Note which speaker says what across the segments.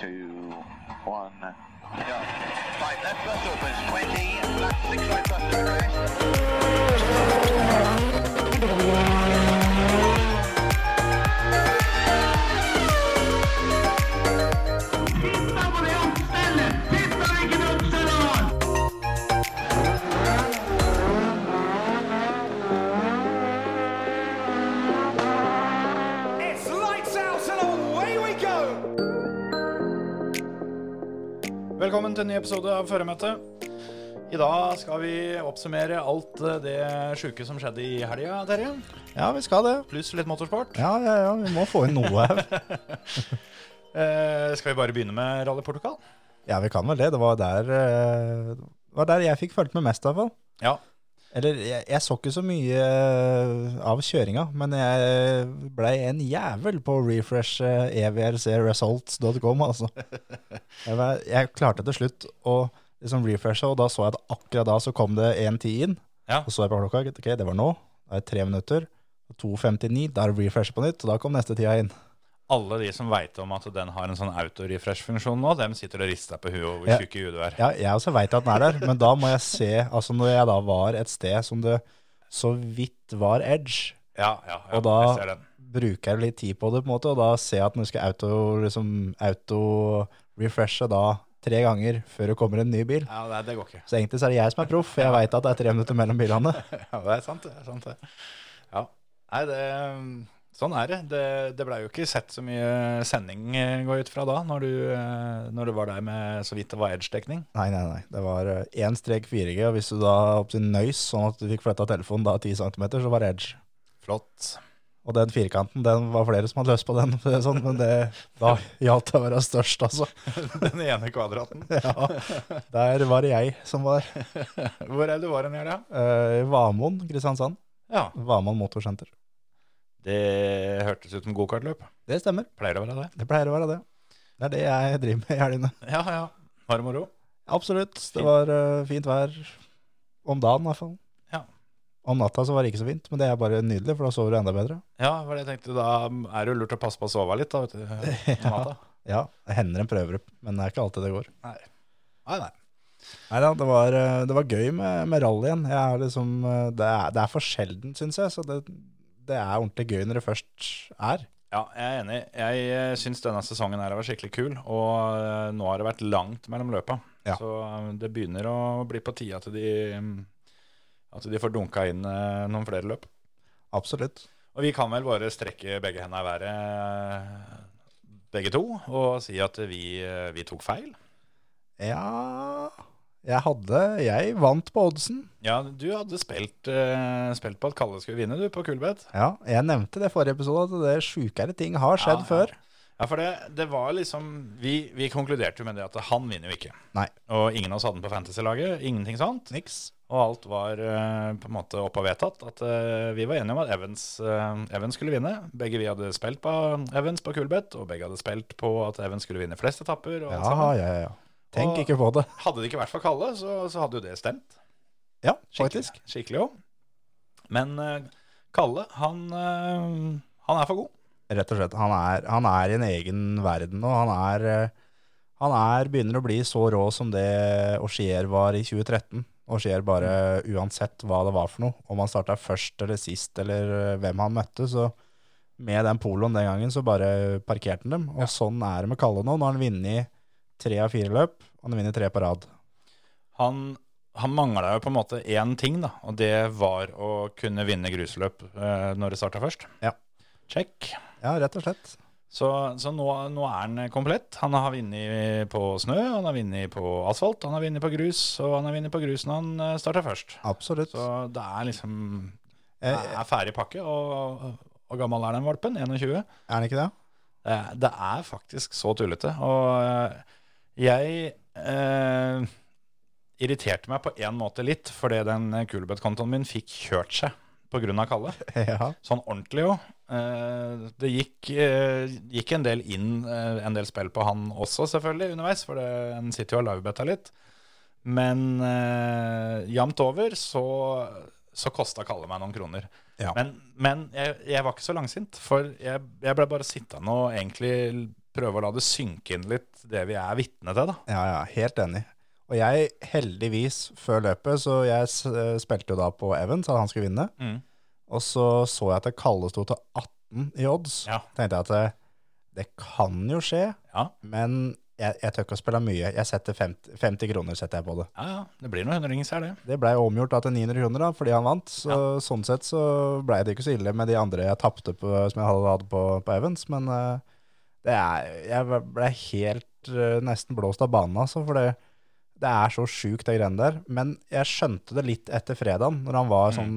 Speaker 1: two, one.
Speaker 2: Yeah. Right, left bus opens 20, left six right bus to crest.
Speaker 3: It's lights out and away we go!
Speaker 4: Velkommen til en ny episode av Føremøte. I dag skal vi oppsummere alt eh, det sjuke som skjedde i helga, Terje.
Speaker 5: Ja, vi skal det.
Speaker 4: Pluss litt motorsport.
Speaker 5: Ja, ja, ja, vi må få inn noe her.
Speaker 4: Eh, skal vi bare begynne med Rally Portugal?
Speaker 5: Ja, vi kan vel det. Det var der, eh, det var der jeg fikk fulgt med mest, i hvert fall.
Speaker 4: Ja.
Speaker 5: Eller, jeg, jeg så ikke så mye eh, av kjøringa, men jeg blei en jævel på refresh eh, evrcresults.com, altså. Jeg, var, jeg klarte til slutt å liksom refreshe, og da så jeg det akkurat da, så kom det 1.10 inn.
Speaker 4: Ja.
Speaker 5: Og så jeg på klokka, ok, det var nå. Det er tre minutter. 2.59, da er det refresh på nytt, og da kom neste tida inn.
Speaker 4: Alle de som veit om at den har en sånn autorefresh-funksjon nå, dem sitter og rister på huet over
Speaker 5: Ja.
Speaker 4: hvor tjukk i huet du er.
Speaker 5: Ja, jeg også veit at den er der, men da må jeg se altså Når jeg da var et sted som det så vidt var edge,
Speaker 4: Ja, ja, ja
Speaker 5: Og da-
Speaker 4: jeg ser den.
Speaker 5: bruker jeg litt tid på det, på en måte, og da ser jeg at den skal auto, liksom, auto-refreshe da tre ganger før det kommer en ny bil.
Speaker 4: Ja, det, det går ikke.
Speaker 5: Så egentlig så er det jeg som er proff, for jeg veit at det er tre minutter mellom bilene.
Speaker 4: Ja, det er sant, det. er sant det. Ja. Nei, det, sånn er det. Det, det blei jo ikke sett så mye sending, eh, går jeg ut fra da, når du, eh, når du var der med så vidt det var edge-dekning.
Speaker 5: Nei, nei, nei. Det var eh, én strek 4G, og hvis du da opp til nøys, sånn at du fikk flytta telefonen da 10 cm, så var det edge.
Speaker 4: Flott.
Speaker 5: Og den firkanten, den var flere som hadde lyst på den, for å si det sånn, men det, da gjaldt det å være størst, altså.
Speaker 4: Den ene kvadraten.
Speaker 5: Ja, der var det jeg som var.
Speaker 4: Hvor er det du var den helga?
Speaker 5: Eh, Vamoen, Kristiansand.
Speaker 4: Ja.
Speaker 5: Vamoen motorsenter.
Speaker 4: Det hørtes ut som gokartløp.
Speaker 5: Det stemmer.
Speaker 4: Pleier å være det.
Speaker 5: Det pleier å være det. Det er det jeg driver med i helgene.
Speaker 4: Ja, ja. Var det moro?
Speaker 5: Absolutt.
Speaker 4: Fint.
Speaker 5: Det var eh, fint vær. Om dagen, i hvert fall.
Speaker 4: Ja.
Speaker 5: Om natta så var det ikke så fint, men det er bare nydelig, for da sover du enda bedre.
Speaker 4: Ja, var det jeg tenkte. Da er det jo lurt å passe på å sove litt, da, vet du. om natta.
Speaker 5: Ja, det hender en prøver, men det er ikke alltid det går.
Speaker 4: Nei, nei.
Speaker 5: Nei da, det var, eh, det var gøy med, med rallyen. Jeg er liksom, eh, det, er, det er for sjelden, syns jeg, så det, det er ordentlig gøy når det først er.
Speaker 4: Ja, jeg er enig. Jeg eh, syns denne sesongen her var skikkelig kul, og eh, nå har det vært langt mellom løpa.
Speaker 5: Ja.
Speaker 4: Så eh, det begynner å bli på tide at de, mm, at de får dunka inn eh, noen flere løp.
Speaker 5: Absolutt.
Speaker 4: Og vi kan vel bare strekke begge hendene i været, eh, begge to, og si at vi, eh, vi tok feil.
Speaker 5: Ja Jeg hadde Jeg vant på oddsen.
Speaker 4: Ja, du hadde spilt, eh, spilt på at Kalle skulle vinne, du, på Kulbeth.
Speaker 5: Ja, jeg nevnte det i forrige episode, at det sjukere ting har skjedd
Speaker 4: Ja, ja.
Speaker 5: før.
Speaker 4: Ja, for det, det var liksom vi, vi konkluderte jo med det at han vinner jo ikke.
Speaker 5: Nei.
Speaker 4: Og ingen av oss hadde den på Fantasy-laget. Ingenting sånt.
Speaker 5: Niks.
Speaker 4: Og alt var eh, på en måte opp og vedtatt. At eh, vi var enige om at Evans, eh, Evans skulle vinne. Begge vi hadde spilt på Evans på Kulbeth, og begge hadde spilt på at Evans skulle vinne flest etapper. Og alt
Speaker 5: Ja,
Speaker 4: sammen.
Speaker 5: ja, ja. Tenk
Speaker 4: Og-
Speaker 5: ikke på det.
Speaker 4: Hadde det ikke vært for Kalle, så, så hadde jo det stemt.
Speaker 5: Ja,
Speaker 4: Skikkelig,
Speaker 5: faktisk.
Speaker 4: Skikkelig òg. Men eh, Kalle, han, eh, han er for god.
Speaker 5: Rett og slett. Han er, han er i en egen verden, og han er eh, Han er, begynner å bli så rå som det Auxier var i 2013. Auxier bare uansett hva det var for noe, om han starta først eller sist, eller eh, hvem han møtte, så med den poloen den gangen, så bare parkerte han dem. Og sånn er det med Kalle nå. Nå har han vunnet tre av fire løp, og han vinner tre på rad.
Speaker 4: Han, han mangla jo på en måte én ting, da, og det var å kunne vinne grusløp eh, når det starta først.
Speaker 5: Ja.
Speaker 4: Check.
Speaker 5: Ja, rett og slett.
Speaker 4: Så, så nå, nå er han eh, komplett. Han har vunnet på snø, han har vunnet på asfalt, han har vunnet på grus, og han har vunnet på grus når han starta først.
Speaker 5: Absolutt.
Speaker 4: Så det er liksom Det
Speaker 5: Eh,
Speaker 4: er ferdig pakke. Og hvor gammel er den valpen? 21?
Speaker 5: er han ikke det?
Speaker 4: Det, Eh, det er faktisk så tullete. Og eh, jeg eh, irriterte meg på en måte litt, fordi den Kulbeth-kontoen min fikk kjørt seg pga. Kalle.
Speaker 5: Ja.
Speaker 4: Sånn ordentlig jo. Eh, det gikk, eh, gikk en del inn, eh, en del spill på han også selvfølgelig underveis, for det, en sitter jo og livebetta litt. Men eh, jevnt over så, så kosta Kalle meg noen kroner.
Speaker 5: Ja.
Speaker 4: Men, men jeg, jeg var ikke så langsint, for jeg, jeg ble bare sittende og egentlig prøve å la det synke inn litt, det vi er vitne til, da.
Speaker 5: Ja, ja, helt enig. Og jeg, heldigvis, før løpet, så jeg s- eh, spilte jo da på Evans, at han skulle vinne.
Speaker 4: Mm.
Speaker 5: Og så så jeg at det kalde sto til 18 i odds.
Speaker 4: Ja.
Speaker 5: Tenkte jeg at det, det kan jo skje,
Speaker 4: Ja,
Speaker 5: men jeg, jeg tør ikke å spille mye. Jeg setter 50, 50 kroner setter jeg på det.
Speaker 4: ja, ja. Det blir noen hundrings her, det.
Speaker 5: Det blei omgjort da til 900 kroner da, fordi han vant. Så sånn sett så blei det ikke så ille med de andre jeg tapte på, som jeg hadde hatt på, på Evans. Men eh, det er, jeg blei helt eh, nesten blåst av banen, altså. For det, det er så sjukt, det greiene der. Men jeg skjønte det litt etter fredagen, når han var sånn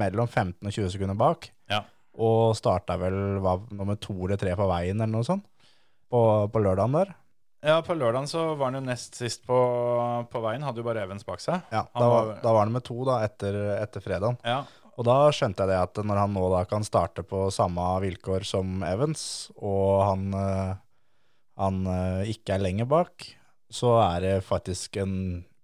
Speaker 5: mellom 15 og 20 sekunder bak.
Speaker 4: Mm. Ja.
Speaker 5: Og starta vel var nummer to eller tre på veien, eller noe sånt, på, på lørdagen der.
Speaker 4: Ja, på lørdagen så var han jo nest sist på, på veien, hadde jo bare Evans bak seg.
Speaker 5: Ja,
Speaker 4: Han
Speaker 5: da, var,
Speaker 4: var-
Speaker 5: da var han med to da, etter, etter fredagen.
Speaker 4: Ja,
Speaker 5: Og da skjønte jeg det at når han nå da kan starte på samme vilkår som Evans, og han, eh, han eh, ikke er lenger bak, så er det faktisk en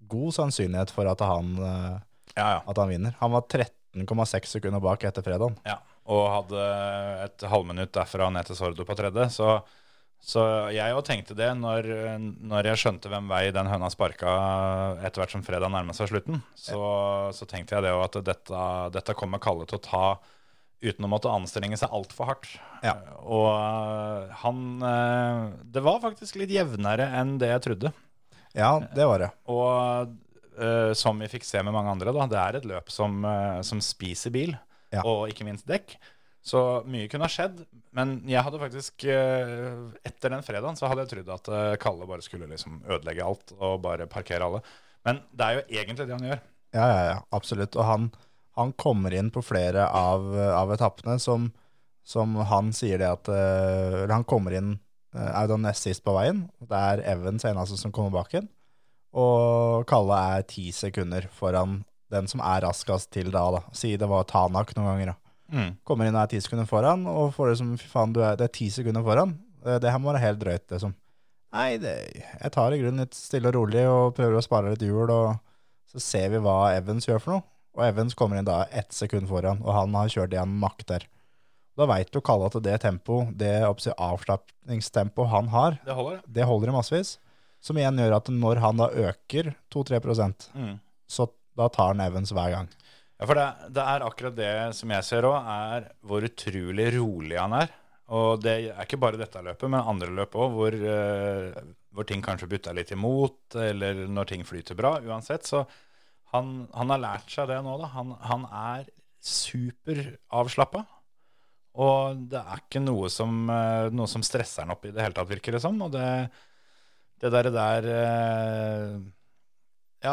Speaker 5: god sannsynlighet for at han, eh,
Speaker 4: ja, ja.
Speaker 5: at han vinner. Han var 13,6 sekunder bak etter fredagen.
Speaker 4: ja. Og hadde et halvminutt derfra ned til Sordo på tredje, så, så jeg òg tenkte det når, når jeg skjønte hvem vei den høna sparka etter hvert som fredag nærma seg slutten, så, så tenkte jeg det òg at dette, dette kommer Kalle til å ta uten å måtte anstrenge seg altfor hardt.
Speaker 5: Ja.
Speaker 4: Og øh, han øh, Det var faktisk litt jevnere enn det jeg trodde.
Speaker 5: Ja, det var det.
Speaker 4: Og eh, som vi fikk se med mange andre, da, det er et løp som, eh, som spiser bil,
Speaker 5: Ja.
Speaker 4: og ikke minst dekk. Så mye kunne ha skjedd, men jeg hadde faktisk eh, Etter den fredagen så hadde jeg trodd at eh, Kalle bare skulle liksom ødelegge alt og bare parkere alle. Men det er jo egentlig det han gjør.
Speaker 5: Ja, ja, ja, absolutt. Og han, han kommer inn på flere av, av etappene som, som han sier det at eh, eller Han kommer inn eh, er da nest sist på veien. Det er Evans eneste som kommer bak igjen. Og Kalle er ti sekunder foran den som er raskest til da. da. Si det var Tanak noen ganger. da. Kommer inn og er ti sekunder foran, og får det som fy faen, du er, det er ti sekunder foran. Eh, Det her må være helt drøyt, liksom. Nei, det, jeg tar i grunnen litt stille og rolig og prøver å spare litt hjul, og så ser vi hva Evans gjør for noe. Og Evans kommer inn da ett sekund foran, og han har kjørt det han makter. Da veit du Kalle at det tempo, det oppsi- avslapningstempo han har,
Speaker 4: Det holder, det.
Speaker 5: det holder i massevis. Som igjen gjør at når han da øker 2-3 prosent,
Speaker 4: Mm.
Speaker 5: så da tar han Evans hver gang.
Speaker 4: Ja, for det, det er akkurat det som jeg ser òg, er hvor utrolig rolig han er. Og det er ikke bare dette løpet, men andre løp òg, hvor, eh, hvor ting kanskje butter litt imot, eller når ting flyter bra. Uansett, så han, han har lært seg det nå, da. Han, han er superavslappa. Og det er ikke noe som, eh, noe som stresser han opp i det hele tatt, virker det som. Og det, det derre der eh, Ja,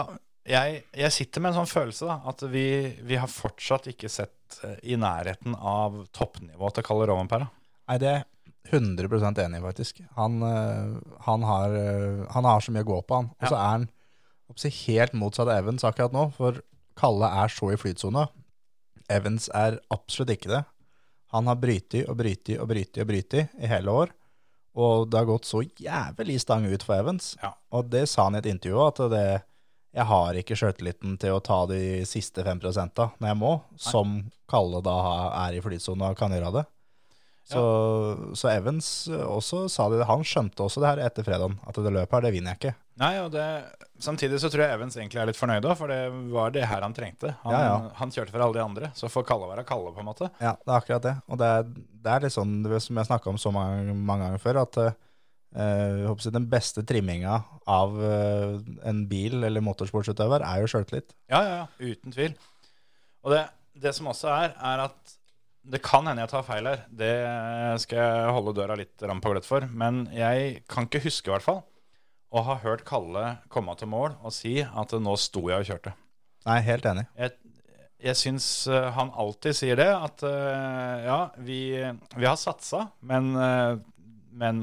Speaker 4: jeg, jeg sitter med en sånn følelse, da, at vi, vi har fortsatt ikke sett eh, i nærheten av toppnivået til Kalle Rovenpera.
Speaker 5: Nei, det er 100 enig i, faktisk. Han, øh, han, har, øh, han har så mye å gå på, han. Og så er han oppsi, helt motsatt av Evans akkurat nå, for Kalle er så i flytsona. Evans er absolutt ikke det. Han har brytet og brytet og brytet og brytet i hele år, og det har gått så jævlig stang ut for Evans.
Speaker 4: Ja.
Speaker 5: Og det sa han i et intervju òg, at det, jeg har ikke sjøltilliten til å ta de siste fem prosenta når jeg må, som Kalle da har- er i flytsona og kan gjøre det. Så, så Evans eh, også sa det, han skjønte også det her etter fredagen, at det løpet her, det vinner jeg ikke.
Speaker 4: Nei, og det, Samtidig så tror jeg Evans egentlig er litt fornøyd òg, for det var det her han trengte. Han,
Speaker 5: Ja, ja.
Speaker 4: han kjørte for alle de andre, så får Kalle være Kalle, på en måte.
Speaker 5: Ja, det er akkurat det. Og det er, det er litt sånn, det som jeg snakket om så mange, mange ganger før, at eh, jeg håper å si den beste trimminga av eh, en bil eller motorsportsutøver er jo sjøltillit.
Speaker 4: Ja, ja, ja, uten tvil. Og det, det som også er, er at det kan hende jeg tar feil her. Det skal jeg holde døra litt ramt på gløtt for. Men jeg kan ikke huske, i hvert fall, å ha hørt Kalle komme til mål og si at nå sto jeg og kjørte.
Speaker 5: Nei, helt enig.
Speaker 4: Jeg, jeg syns eh, han alltid sier det, at eh, ja, vi, vi har satsa, men, eh, men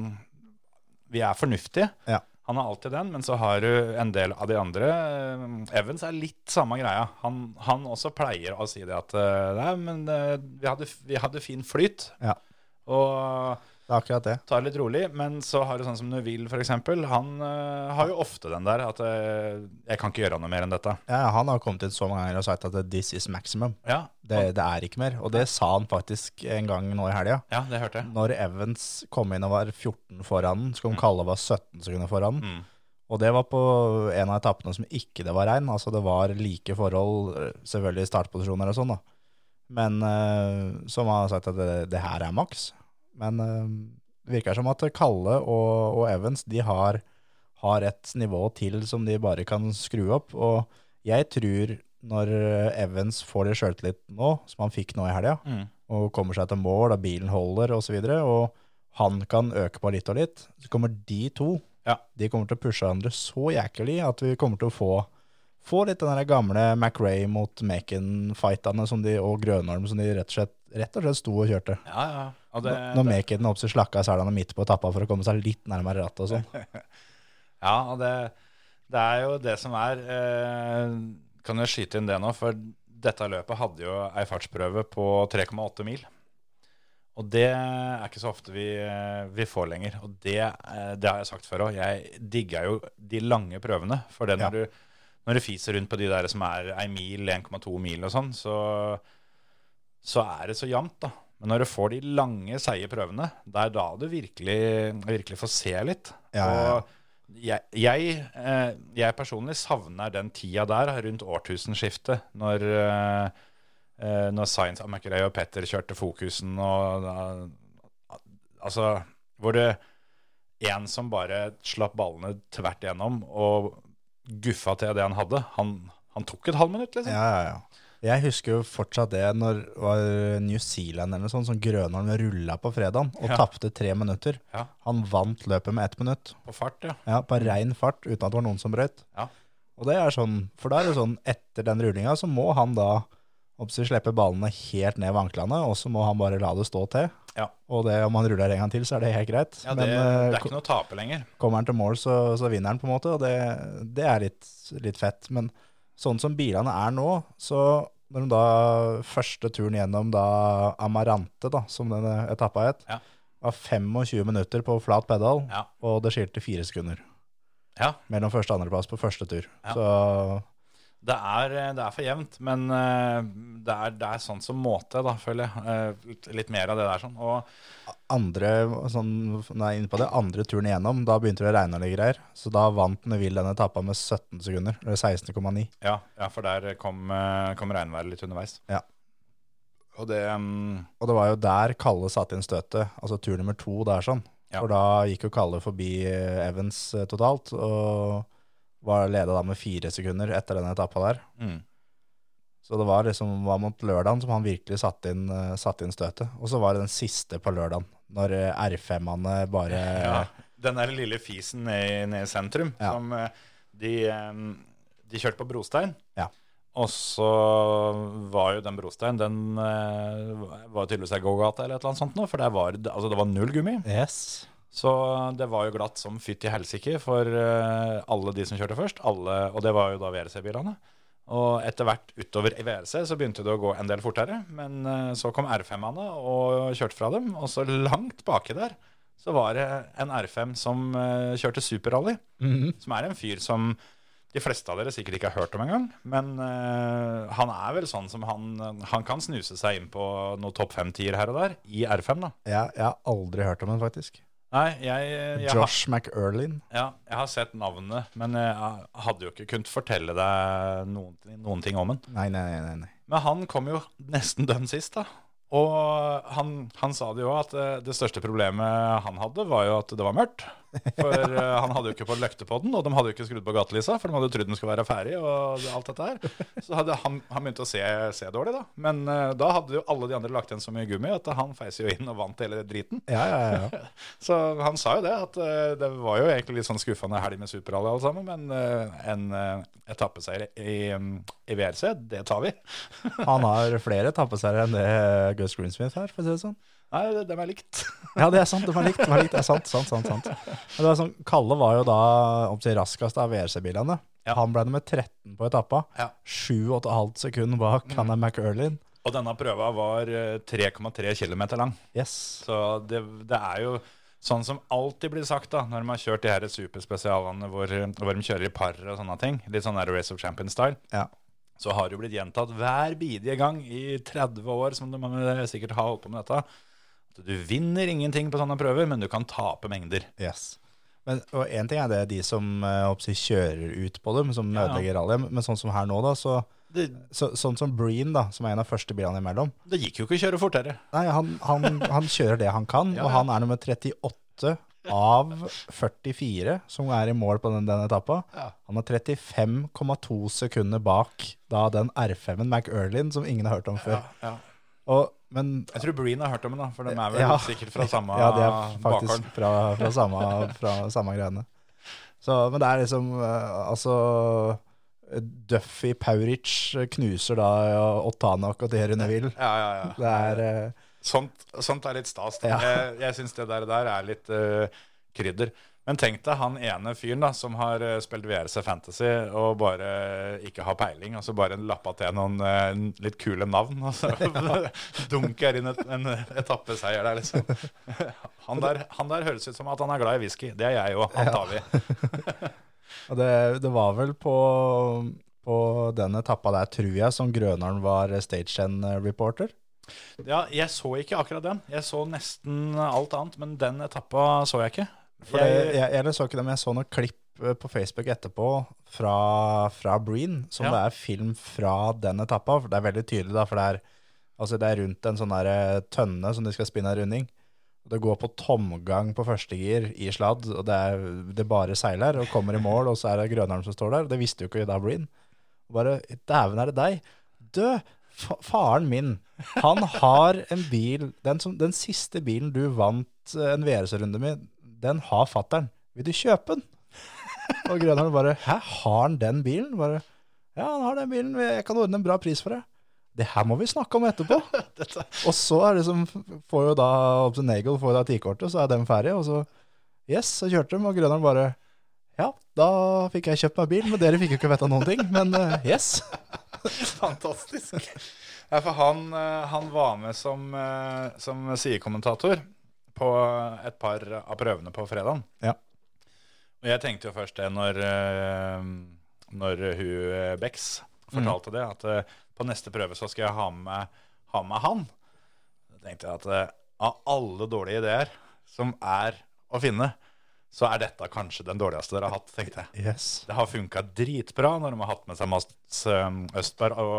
Speaker 4: vi er fornuftige.
Speaker 5: Ja.
Speaker 4: Han har alltid den, men så har du en del av de andre. Eh, Evans er litt samme greia. Han, han også pleier å si det at eh, nei, men eh, vi hadde, vi hadde fin flyt.
Speaker 5: Ja.
Speaker 4: Og
Speaker 5: Det er akkurat det.
Speaker 4: tar det litt rolig, men så har du sånn som Neville for eksempel, han eh, har jo ofte den der at eh, jeg kan ikke gjøre noe mer enn dette.
Speaker 5: Ja, han har kommet inn så mange ganger og sagt at 'this is maximum'.
Speaker 4: Ja,
Speaker 5: Det, det er ikke mer. Og det sa han faktisk en gang nå i helga.
Speaker 4: ja det hørte jeg.
Speaker 5: Når Evans kom inn og var 14 foran, så kom Kalle og var 17 sekunder foran.
Speaker 4: Mm.
Speaker 5: Og det var på en av etappene som ikke det var regn. Altså det var like forhold, eh, selvfølgelig i startposisjoner og sånn, da. Men eh, som har sagt at det, det her er maks. Men eh, det virker som at Kalle og, og Evans de har, har et nivå til som de bare kan skru opp. Og jeg tror når Evans får det sjøltillit nå, som han fikk nå i helga,
Speaker 4: Mm.
Speaker 5: og kommer seg til mål, og bilen holder osv., og, så videre, og han kan øke på litt og litt, så kommer de to
Speaker 4: Ja.
Speaker 5: de kommer til å pushe hverandre så jæklig at vi kommer til å få, få litt den der gamle McRae mot Macon-fightene som de, og Grønholm som de rett og slett, rett og slett sto og kjørte.
Speaker 4: Ja, ja. Og det,
Speaker 5: Når Macon oppsi slakka selene midt på tappa for å komme seg litt nærmere rattet og sånn.
Speaker 4: ja, og det, det er jo det som er, eh, kan jeg skyte inn det nå, for dette løpet hadde jo ei fartsprøve på 3,8 mil. Og det er ikke så ofte vi, eh, vi får lenger. Og det, eh, det har jeg sagt før òg. Jeg digger jo de lange prøvene. For det når, du, når du fiser rundt på de der som er ei mil, 1,2 mil og sånn, så, så er det så jevnt, da. Men når du får de lange, seige prøvene, det er da du virkelig, virkelig får se litt.
Speaker 5: Ja, ja, ja.
Speaker 4: Og jeg, jeg, eh, jeg personlig savner den tida der rundt årtusenskiftet, når eh, eh, når Science av McRae og Petter kjørte fokusen og da- Altså, hvor det en som bare slapp ballene tvert igjennom og guffa til det han hadde, han, han tok et halvminutt, liksom.
Speaker 5: Ja, ja, ja. Jeg husker jo fortsatt det når det var New Zealand eller noe sånt, som Grønholm rulla på fredagen og
Speaker 4: Ja.
Speaker 5: tapte tre minutter.
Speaker 4: Ja.
Speaker 5: Han vant løpet med ett minutt.
Speaker 4: På fart, ja.
Speaker 5: Ja, på rein fart, uten at det var noen som brøyt.
Speaker 4: Ja.
Speaker 5: Og det er sånn, for da er det sånn, etter den rullinga så må han da oppsi slippe ballene helt ned ved anklene, og så må han bare la det stå til.
Speaker 4: Ja.
Speaker 5: Og det, om han ruller en gang til, så er det helt greit.
Speaker 4: ja det,
Speaker 5: Men
Speaker 4: det
Speaker 5: eh,
Speaker 4: er ikke noe å tape lenger.
Speaker 5: kommer han til mål, så, så vinner han på en måte, og det, det er litt, litt fett. Men sånn som bilene er nå, så når de da første turen gjennom da Amarante, da, som denne etappa het,
Speaker 4: Ja.
Speaker 5: var 25 minutter på flat pedal,
Speaker 4: Ja.
Speaker 5: og det skilte fire sekunder
Speaker 4: Ja,
Speaker 5: mellom første og andreplass på første tur.
Speaker 4: Ja.
Speaker 5: Så
Speaker 4: det er, det er for jevnt, men eh, det er, det er sånn som måte, da, føler jeg. Eh, litt- litt mer av det der sånn. Og
Speaker 5: andre, sånn, når jeg er inne på det, andre turen igjennom, da begynte det å regne og litt greier. Så da vant Neville denne etappa med 17 sekunder, eller 16,9.
Speaker 4: ja, ja for der kom, eh, kom regnværet litt underveis.
Speaker 5: Ja.
Speaker 4: Og det mm,
Speaker 5: Og det var jo der Kalle satte inn støtet, altså tur nummer to der sånn.
Speaker 4: Ja.
Speaker 5: For da gikk jo Kalle forbi eh, Evans eh, totalt, og var leda da med fire sekunder etter denne etappa der.
Speaker 4: mm.
Speaker 5: Så det var liksom var mot lørdagen som han virkelig satte inn, eh, satte inn støtet. Og så var det den siste på lørdagen, når eh, R5-ene bare
Speaker 4: Ja, den der lille fisen nede ned i sentrum,
Speaker 5: Ja.
Speaker 4: som eh, de, eh, de kjørte på brostein.
Speaker 5: Ja.
Speaker 4: Og så var jo den brosteinen, den eh, var tydeligvis ei gågate eller et eller annet sånt nå, for der var, det- altså det var null gummi.
Speaker 5: Yes.
Speaker 4: Så eh, det var jo glatt som fytti helsike for eh, alle de som kjørte først, alle, og det var jo da VRC-bilene. Og etter hvert utover i VRC så begynte det å gå en del fortere, men eh, så kom R5-ene og kjørte fra dem, og så langt baki der så var det en R5 som eh, kjørte superrally, som er en fyr som de fleste av dere sikkert ikke har hørt om engang, men eh, han er vel sånn som han, han kan snuse seg inn på noen topp fem-tier her og der, i R5 da.
Speaker 5: Ja, jeg har aldri hørt om den, faktisk.
Speaker 4: Nei, jeg, jeg har-
Speaker 5: Josh McErlin.
Speaker 4: Ja, jeg har sett navnet, men jeg hadde jo ikke kunnet fortelle deg noen, noen ting om den.
Speaker 5: Nei, nei, nei. nei, nei.
Speaker 4: Men han kom jo nesten dønn sist, da. Og han, han sa det jo at eh, det største problemet han hadde, var jo at det var mørkt. For eh, han hadde jo ikke fått løkte på den, og de hadde jo ikke skrudd på gatelysa, for de hadde jo trodd den skulle være ferdig og alt dette her. Så hadde han, han begynte å se, se dårlig, da. Men eh, da hadde jo alle de andre lagt igjen så mye gummi at han feis jo inn og vant hele driten.
Speaker 5: Ja, ja, ja.
Speaker 4: Så han sa jo det, at eh, det var jo egentlig litt sånn skuffende helg med Superrally alle sammen, men eh, en eh, etappeseier i, mm, i VRC, det tar vi.
Speaker 5: Han har flere tappeseiere enn det eh, Gus Greensmith har, for å si det sånn.
Speaker 4: Nei, det- dem er likt.
Speaker 5: Ja, det er sant. Det var likt. Det var likt. Det er sant, sant, sant, sant. Men det var sånn, Kalle var jo da opp til raskest av VRC-bilene.
Speaker 4: Ja.
Speaker 5: Han ble nummer 13 på etappa.
Speaker 4: Ja. Mm.
Speaker 5: 7,5 sekunder bak han er McErlin.
Speaker 4: Og denne prøva var eh, 3,3 km lang.
Speaker 5: Yes.
Speaker 4: Så det, det er jo sånn som alltid blir sagt da, når de har kjørt de her superspesialene hvor, hvor de kjører i par og sånne ting, litt sånn der Race of Champions-style,
Speaker 5: Ja.
Speaker 4: så har det jo blitt gjentatt hver bidige gang i 30 år som de sikkert har holdt på med dette, at du vinner ingenting på sånne prøver, men du kan tape mengder.
Speaker 5: Yes. Men, og en ting er det de som eh, oppsi, kjører ut på dem, som
Speaker 4: Ja, ja.
Speaker 5: ødelegger rallyen. Men sånn som her nå, da, så,
Speaker 4: Det,
Speaker 5: så Sånn som Breen, da, som er en av første bilene imellom.
Speaker 4: det gikk jo ikke å kjøre fortere.
Speaker 5: Nei, han, han, han kjører det han kan,
Speaker 4: Ja,
Speaker 5: og
Speaker 4: ja.
Speaker 5: han er nummer 38 av 44 som er i mål på den, den etappa.
Speaker 4: Ja.
Speaker 5: Han er 35,2 sekunder bak da den R5-en McEarlin som ingen har hørt om før. Og, men
Speaker 4: Jeg tror Breen har hørt om det, da, for de er vel
Speaker 5: Ja.
Speaker 4: sikkert fra samme
Speaker 5: ja, det er
Speaker 4: bakgård.
Speaker 5: faktisk fra, fra, samme, fra samme greiene. Så, men det er liksom eh, Altså Duffy Pauric knuser da Otanak og Thierry Neville.
Speaker 4: Ja, ja, ja.
Speaker 5: Det er eh,
Speaker 4: Sånt, sånt er litt stas. da.
Speaker 5: Ja.
Speaker 4: Jeg, jeg syns det der, der er litt eh, krydder. Men tenk deg han ene fyren da, som har eh, spilt VRC Fantasy og bare eh, ikke har peiling, og så bare lappa til noen eh, litt kule navn, og så dunker inn et, en etappeseier der, liksom. Han der, han der høres ut som at han er glad i whisky. Det er jeg òg. Han tar vi.
Speaker 5: Og det, det var vel på, på den etappa der, tror jeg, som Grønaren var stagehand-reporter.
Speaker 4: Ja, jeg så ikke akkurat den. Jeg så nesten alt annet, men den etappa så jeg ikke.
Speaker 5: For det- jeg, jeg så ikke det, men jeg så noen klipp eh, på Facebook etterpå fra, fra Breen, som
Speaker 4: Ja.
Speaker 5: det er film fra den etappa. For det er veldig tydelig, da, for det er, altså det er rundt en sånn der eh, tønne som de skal spinne en runding. Og Det går på tomgang på første gir i sladd, og det, er, det bare seiler og kommer i mål, og så er det Grønaren som står der. Det visste jo ikke da Breen. Og bare Dæven, er det deg? Du, fa faren min, han har en bil Den, som, den siste bilen du vant eh, en VRC-runde med, den har fattern. Vil du kjøpe den? Og Grønholm bare Hæ, har han den bilen? Bare, ja, han har den bilen. Jeg kan ordne en bra pris for deg. Det her må vi snakke om etterpå. og så er det som, får jo da opp til Nagel får jo da tikortet, så er de ferdige. Og så Yes, så kjørte de, og Grønholm bare Ja, da fikk jeg kjøpt meg bil, men dere fikk jo ikke vite noen ting. Men eh, yes.
Speaker 4: Fantastisk. Ja, for han, eh, han var med som, eh, som sidekommentator på et par av prøvene på fredagen.
Speaker 5: Ja.
Speaker 4: Og jeg tenkte jo først det når, eh, når hun eh, Bex fortalte det, at eh, på neste prøve så skal jeg ha med, meg- ha med meg han. Da tenkte jeg at eh, av alle dårlige ideer som er å finne, så er dette kanskje den dårligste dere har hatt, tenkte jeg.
Speaker 5: Yes.
Speaker 4: Det har funka dritbra når de har hatt med seg Mats um, Østberg og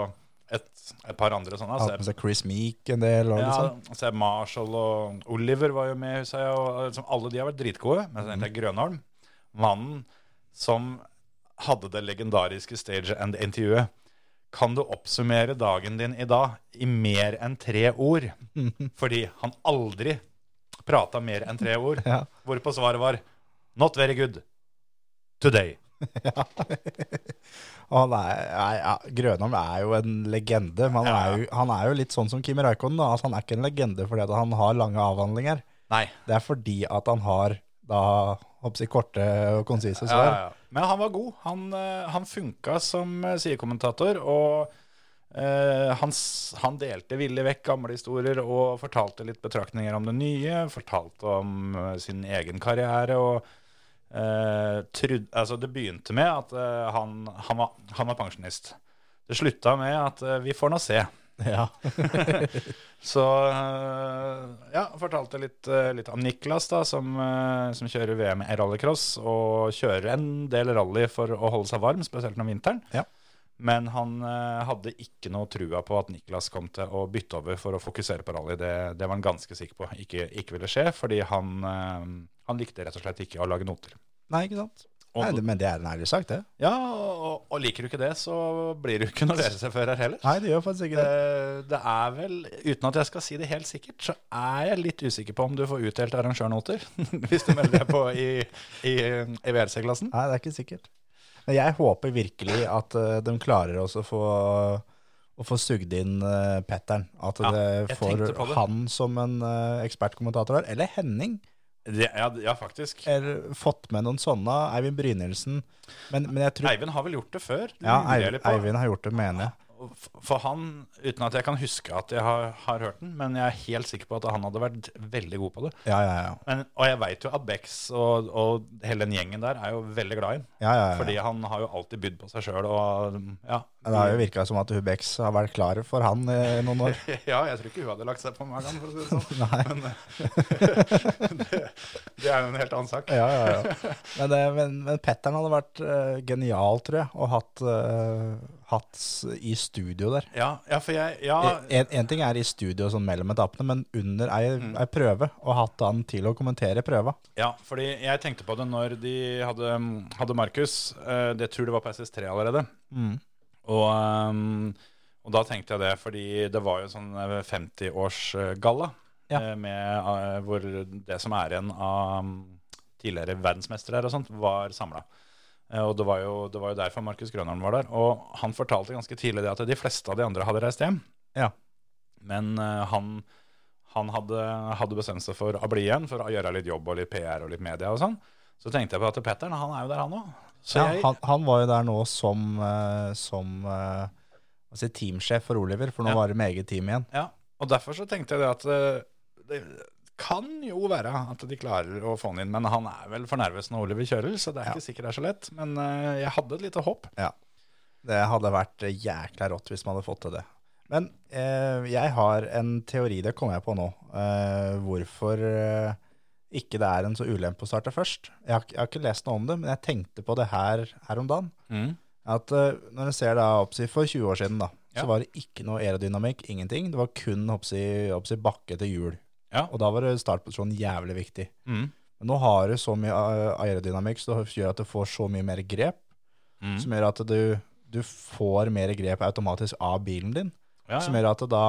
Speaker 4: et, et par andre sånne.
Speaker 5: Hatt med
Speaker 4: Seb,
Speaker 5: seg Chris Meek en del og litt
Speaker 4: ja,
Speaker 5: sånn.
Speaker 4: Seb Marshall og Oliver var jo med, husker jeg. Og, liksom, alle de har vært dritgode. Men så tenkte
Speaker 5: Mhm.
Speaker 4: jeg Grønholm, mannen som hadde det legendariske stage end-intervjuet. Kan du oppsummere dagen din i dag i mer enn tre ord? Fordi han aldri prata mer enn tre ord.
Speaker 5: Ja.
Speaker 4: Hvorpå svaret var Not very good. Today.
Speaker 5: Og han er, nei, ja, Grønholm er jo en legende, men han,
Speaker 4: Ja.
Speaker 5: er, jo, han er jo litt sånn som Kim Raikon. da, at Han er ikke en legende fordi at han har lange avhandlinger.
Speaker 4: Nei.
Speaker 5: Det er fordi at han har da, hoppsi, korte og konsise
Speaker 4: Ja,
Speaker 5: svar.
Speaker 4: ja, ja. Men han var god. Han, eh, han funka som eh, sidekommentator, og eh, han, s- han delte villig vekk gamle historier og fortalte litt betraktninger om det nye, fortalte om eh, sin egen karriere og eh, trudd, altså Det begynte med at eh, han, han, var, han var pensjonist. Det slutta med at eh, vi får nå se.
Speaker 5: Ja.
Speaker 4: Så øh, ja, fortalte litt, øh, litt om Niklas, da, som, øh, som kjører VM i rallycross. Og kjører en del rally for å holde seg varm, spesielt om vinteren.
Speaker 5: Ja.
Speaker 4: Men han øh, hadde ikke noe trua på at Niklas kom til å bytte over for å fokusere på rally. Det, det var han ganske sikker på ikke, ikke ville skje, fordi han, øh, han likte rett og slett ikke å lage noter.
Speaker 5: Nei, ikke sant.
Speaker 4: Og,
Speaker 5: Nei, det, men det er en ærlig sak, det.
Speaker 4: ja, og, og liker du ikke det, så blir du ikke noen racerfører heller.
Speaker 5: Nei, det gjør faktisk ikke det.
Speaker 4: Eh, Det er vel, uten at jeg skal si det helt sikkert, så er jeg litt usikker på om du får utdelt arrangørnoter hvis du melder deg på i, i, i VRC-klassen.
Speaker 5: Nei, det er ikke sikkert. Men jeg håper virkelig at eh, de klarer også å få å få sugd inn eh, Petteren. At
Speaker 4: Ja,
Speaker 5: det
Speaker 4: jeg
Speaker 5: får
Speaker 4: tenkte på det.
Speaker 5: han som en eh, ekspertkommentator her, eller Henning.
Speaker 4: Det, ja, ja, faktisk.
Speaker 5: eller fått med noen sånne. Eivind Brynildsen. Men, men jeg tror
Speaker 4: Eivind har vel gjort det før?
Speaker 5: ja,
Speaker 4: lurer jeg
Speaker 5: Eivind,
Speaker 4: litt på.
Speaker 5: Eivind har gjort det, mener jeg.
Speaker 4: f- For han, uten at jeg kan huske at jeg har, har hørt den, men jeg er helt sikker på at han hadde vært veldig god på det.
Speaker 5: Ja, ja, ja.
Speaker 4: Men, og jeg veit jo at Bex og, og hele den gjengen der er jo veldig glad i ham.
Speaker 5: ja, ja, ja.
Speaker 4: Fordi han har jo alltid bydd på seg sjøl og ja.
Speaker 5: det har jo virka som at Hubex har vært klar for han eh, i noen år.
Speaker 4: Ja, jeg tror ikke hun hadde lagt seg på magen, for å si det sånn.
Speaker 5: Nei.
Speaker 4: Men eh, det, det er jo en helt annen sak.
Speaker 5: Ja, ja, ja. Men, det, men, men Petteren hadde vært eh, genial, tror jeg, og hatt, eh, hatt s- i studio der. Eh,
Speaker 4: Ja, ja for jeg Ja,
Speaker 5: En, en ting er i studio sånn mellom etappene, men under ei,
Speaker 4: Mm.
Speaker 5: ei prøve, og hatt han til å kommentere prøva.
Speaker 4: ja fordi jeg tenkte på det når de hadde, mm, hadde Markus. eh, Det tror jeg det var på SS3 allerede.
Speaker 5: Mm.
Speaker 4: Og, ehm, og da tenkte jeg det, fordi det var jo sånn eh, 50-årsgalla.
Speaker 5: Ja.
Speaker 4: eh, Med, eh, hvor det som er igjen av mm, tidligere verdensmestere her og sånt, var samla. Og det var, jo, det var jo derfor Markus Grønholm var der. Og han fortalte ganske tidlig det at de fleste av de andre hadde reist hjem.
Speaker 5: Ja.
Speaker 4: Men eh, han, han hadde, hadde bestemt seg for å bli igjen, for å gjøre litt jobb og litt PR og litt media og sånn. Så tenkte jeg på at Petteren, han er jo der han òg. Så
Speaker 5: Ja,
Speaker 4: jeg,
Speaker 5: han, han var jo der nå som, eh, som eh, hva skal jeg si, teamsjef for Oliver, for nå
Speaker 4: Ja.
Speaker 5: var det med eget team igjen.
Speaker 4: Ja, og derfor så tenkte jeg det at eh, det kan jo være at de klarer å få han inn, men han er vel for nervøs når Oliver kjører, så det er ikke sikkert det er så lett. Men eh, jeg hadde et lite håp.
Speaker 5: Det hadde vært jækla rått hvis man hadde fått til det. Men eh, jeg har en teori, det kommer jeg på nå. Eh, hvorfor eh, ikke det er en så ulempe å starte først. Jeg har, ikke- jeg har ikke lest noe om det, men jeg tenkte på det her, her om dagen. At eh, når en ser da oppsi for 20 år siden, da,
Speaker 4: Ja.
Speaker 5: så var det ikke noe aerodynamikk, ingenting. Det var kun oppsi, oppsi bakke til hjul.
Speaker 4: Ja.
Speaker 5: Og da var det startposisjon jævlig viktig.
Speaker 4: Mm.
Speaker 5: Men nå har du så mye eh, aerodynamikk, så det gjør at du får så mye mer grep,
Speaker 4: Mm.
Speaker 5: som gjør at du, du får mer grep automatisk av bilen din,
Speaker 4: Ja,
Speaker 5: som
Speaker 4: ja.
Speaker 5: gjør at da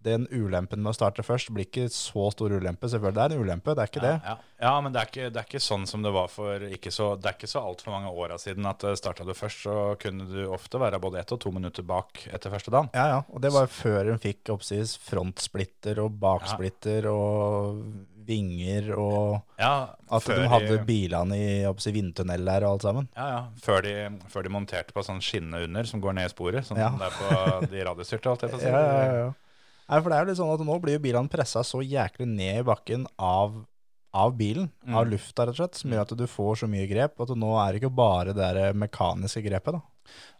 Speaker 5: den ulempen med å starte først blir ikke så stor ulempe. Selvfølgelig det er en ulempe, det er ikke
Speaker 4: Ja,
Speaker 5: det.
Speaker 4: ja. ja, men det er, ikke, det er ikke sånn som det var for ikke så, Det er ikke så altfor mange åra siden at starta du først, så kunne du ofte være både ett og to minutter bak etter første dagen.
Speaker 5: Ja, ja, og det var før hun fikk oppsis frontsplitter og baksplitter og vinger og
Speaker 4: Ja,
Speaker 5: at
Speaker 4: før
Speaker 5: de
Speaker 4: de-
Speaker 5: hadde bilene i oppsi vindtunnel der og alt sammen.
Speaker 4: Ja, ja. Før de, før de monterte på sånn skinne under som går ned i sporet, sånn
Speaker 5: Ja.
Speaker 4: som det er på de radiostyrte. alt jeg får si.
Speaker 5: Ja, ja, ja. Nei, for det er jo litt sånn at nå blir jo bilene pressa så jæklig ned i bakken av, av bilen, av lufta rett og slett, som gjør at du får så mye grep, at nå er det ikke bare det der mekaniske grepet da.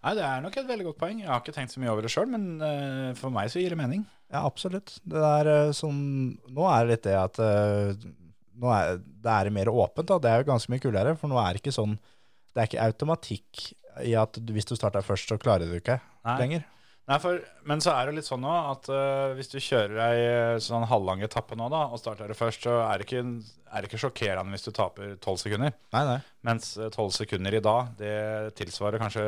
Speaker 4: Nei, det er nok et veldig godt poeng. Jeg har ikke tenkt så mye over det sjøl, men eh, for meg så gir det mening.
Speaker 5: Ja, absolutt. Det er eh, sånn, nå er det litt det at eh, nå er det er mer åpent da, det er jo ganske mye kulere, for nå er det ikke sånn, det er ikke automatikk i at du, hvis du starter først, så klarer du ikke
Speaker 4: Nei.
Speaker 5: lenger.
Speaker 4: Nei, for, Men så er det litt sånn nå at eh, hvis du kjører ei eh, sånn halvlang etappe nå da, og starter det først, så er det ikke, er det ikke sjokkerende hvis du taper tolv sekunder.
Speaker 5: Nei, nei.
Speaker 4: Mens eh, tolv sekunder i dag, det tilsvarer kanskje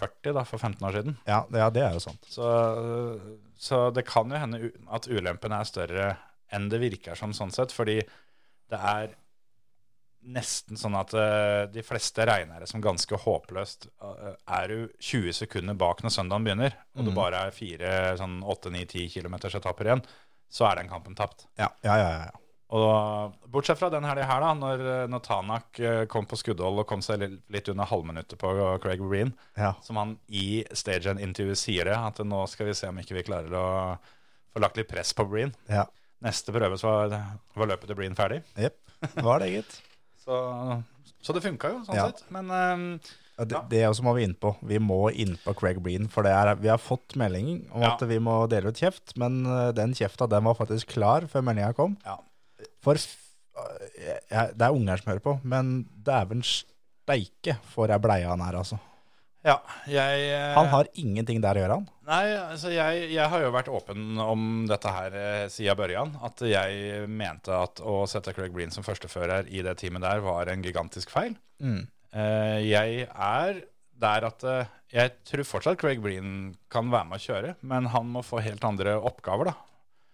Speaker 4: 40 da, for 15 år siden.
Speaker 5: Ja, det, ja, det er jo sant.
Speaker 4: Så, så det kan jo hende u- at ulempen er større enn det virker som sånn sett, fordi det er nesten sånn at eh, de fleste regner det som ganske håpløst. Eh, Er du 20 sekunder bak når søndagen begynner, og det bare er fire, sånn 8-9-10 kilometers etapper igjen, så er den kampen tapt.
Speaker 5: Ja, ja, ja. ja.
Speaker 4: Og bortsett fra den helga her, da, når, når Tanak eh, kom på skuddhold og kom seg li- litt under halvminuttet på Craig Breen,
Speaker 5: Ja.
Speaker 4: som han i stagehand-intervjuet sier det, at nå skal vi se om ikke vi klarer å få lagt litt press på Breen.
Speaker 5: Ja,
Speaker 4: Neste prøve så var, var løpet til Breen ferdig.
Speaker 5: Jep. det var det gitt.
Speaker 4: Så, så det funka jo, sånn
Speaker 5: Ja.
Speaker 4: sett. Men ehm,
Speaker 5: Ja, det,
Speaker 4: Ja.
Speaker 5: det også må vi inn på. Vi må inn på Craig Breen, for det er, vi har fått melding om
Speaker 4: Ja.
Speaker 5: at vi må dele ut kjeft, men eh, den kjefta den var faktisk klar før meldinga kom.
Speaker 4: ja.
Speaker 5: For f- eh, jeg, det er unger som hører på, men dæven steike for ei bleie han er, altså.
Speaker 4: ja jeg eh,
Speaker 5: Han har ingenting der å gjøre, han.
Speaker 4: Nei, altså jeg, jeg har jo vært åpen om dette her eh, siden børjan. At jeg mente at å sette Craig Breen som førstefører i det teamet der var en gigantisk feil. Eh, jeg er der at eh, jeg tror fortsatt Craig Breen kan være med å kjøre, men han må få helt andre oppgaver, da.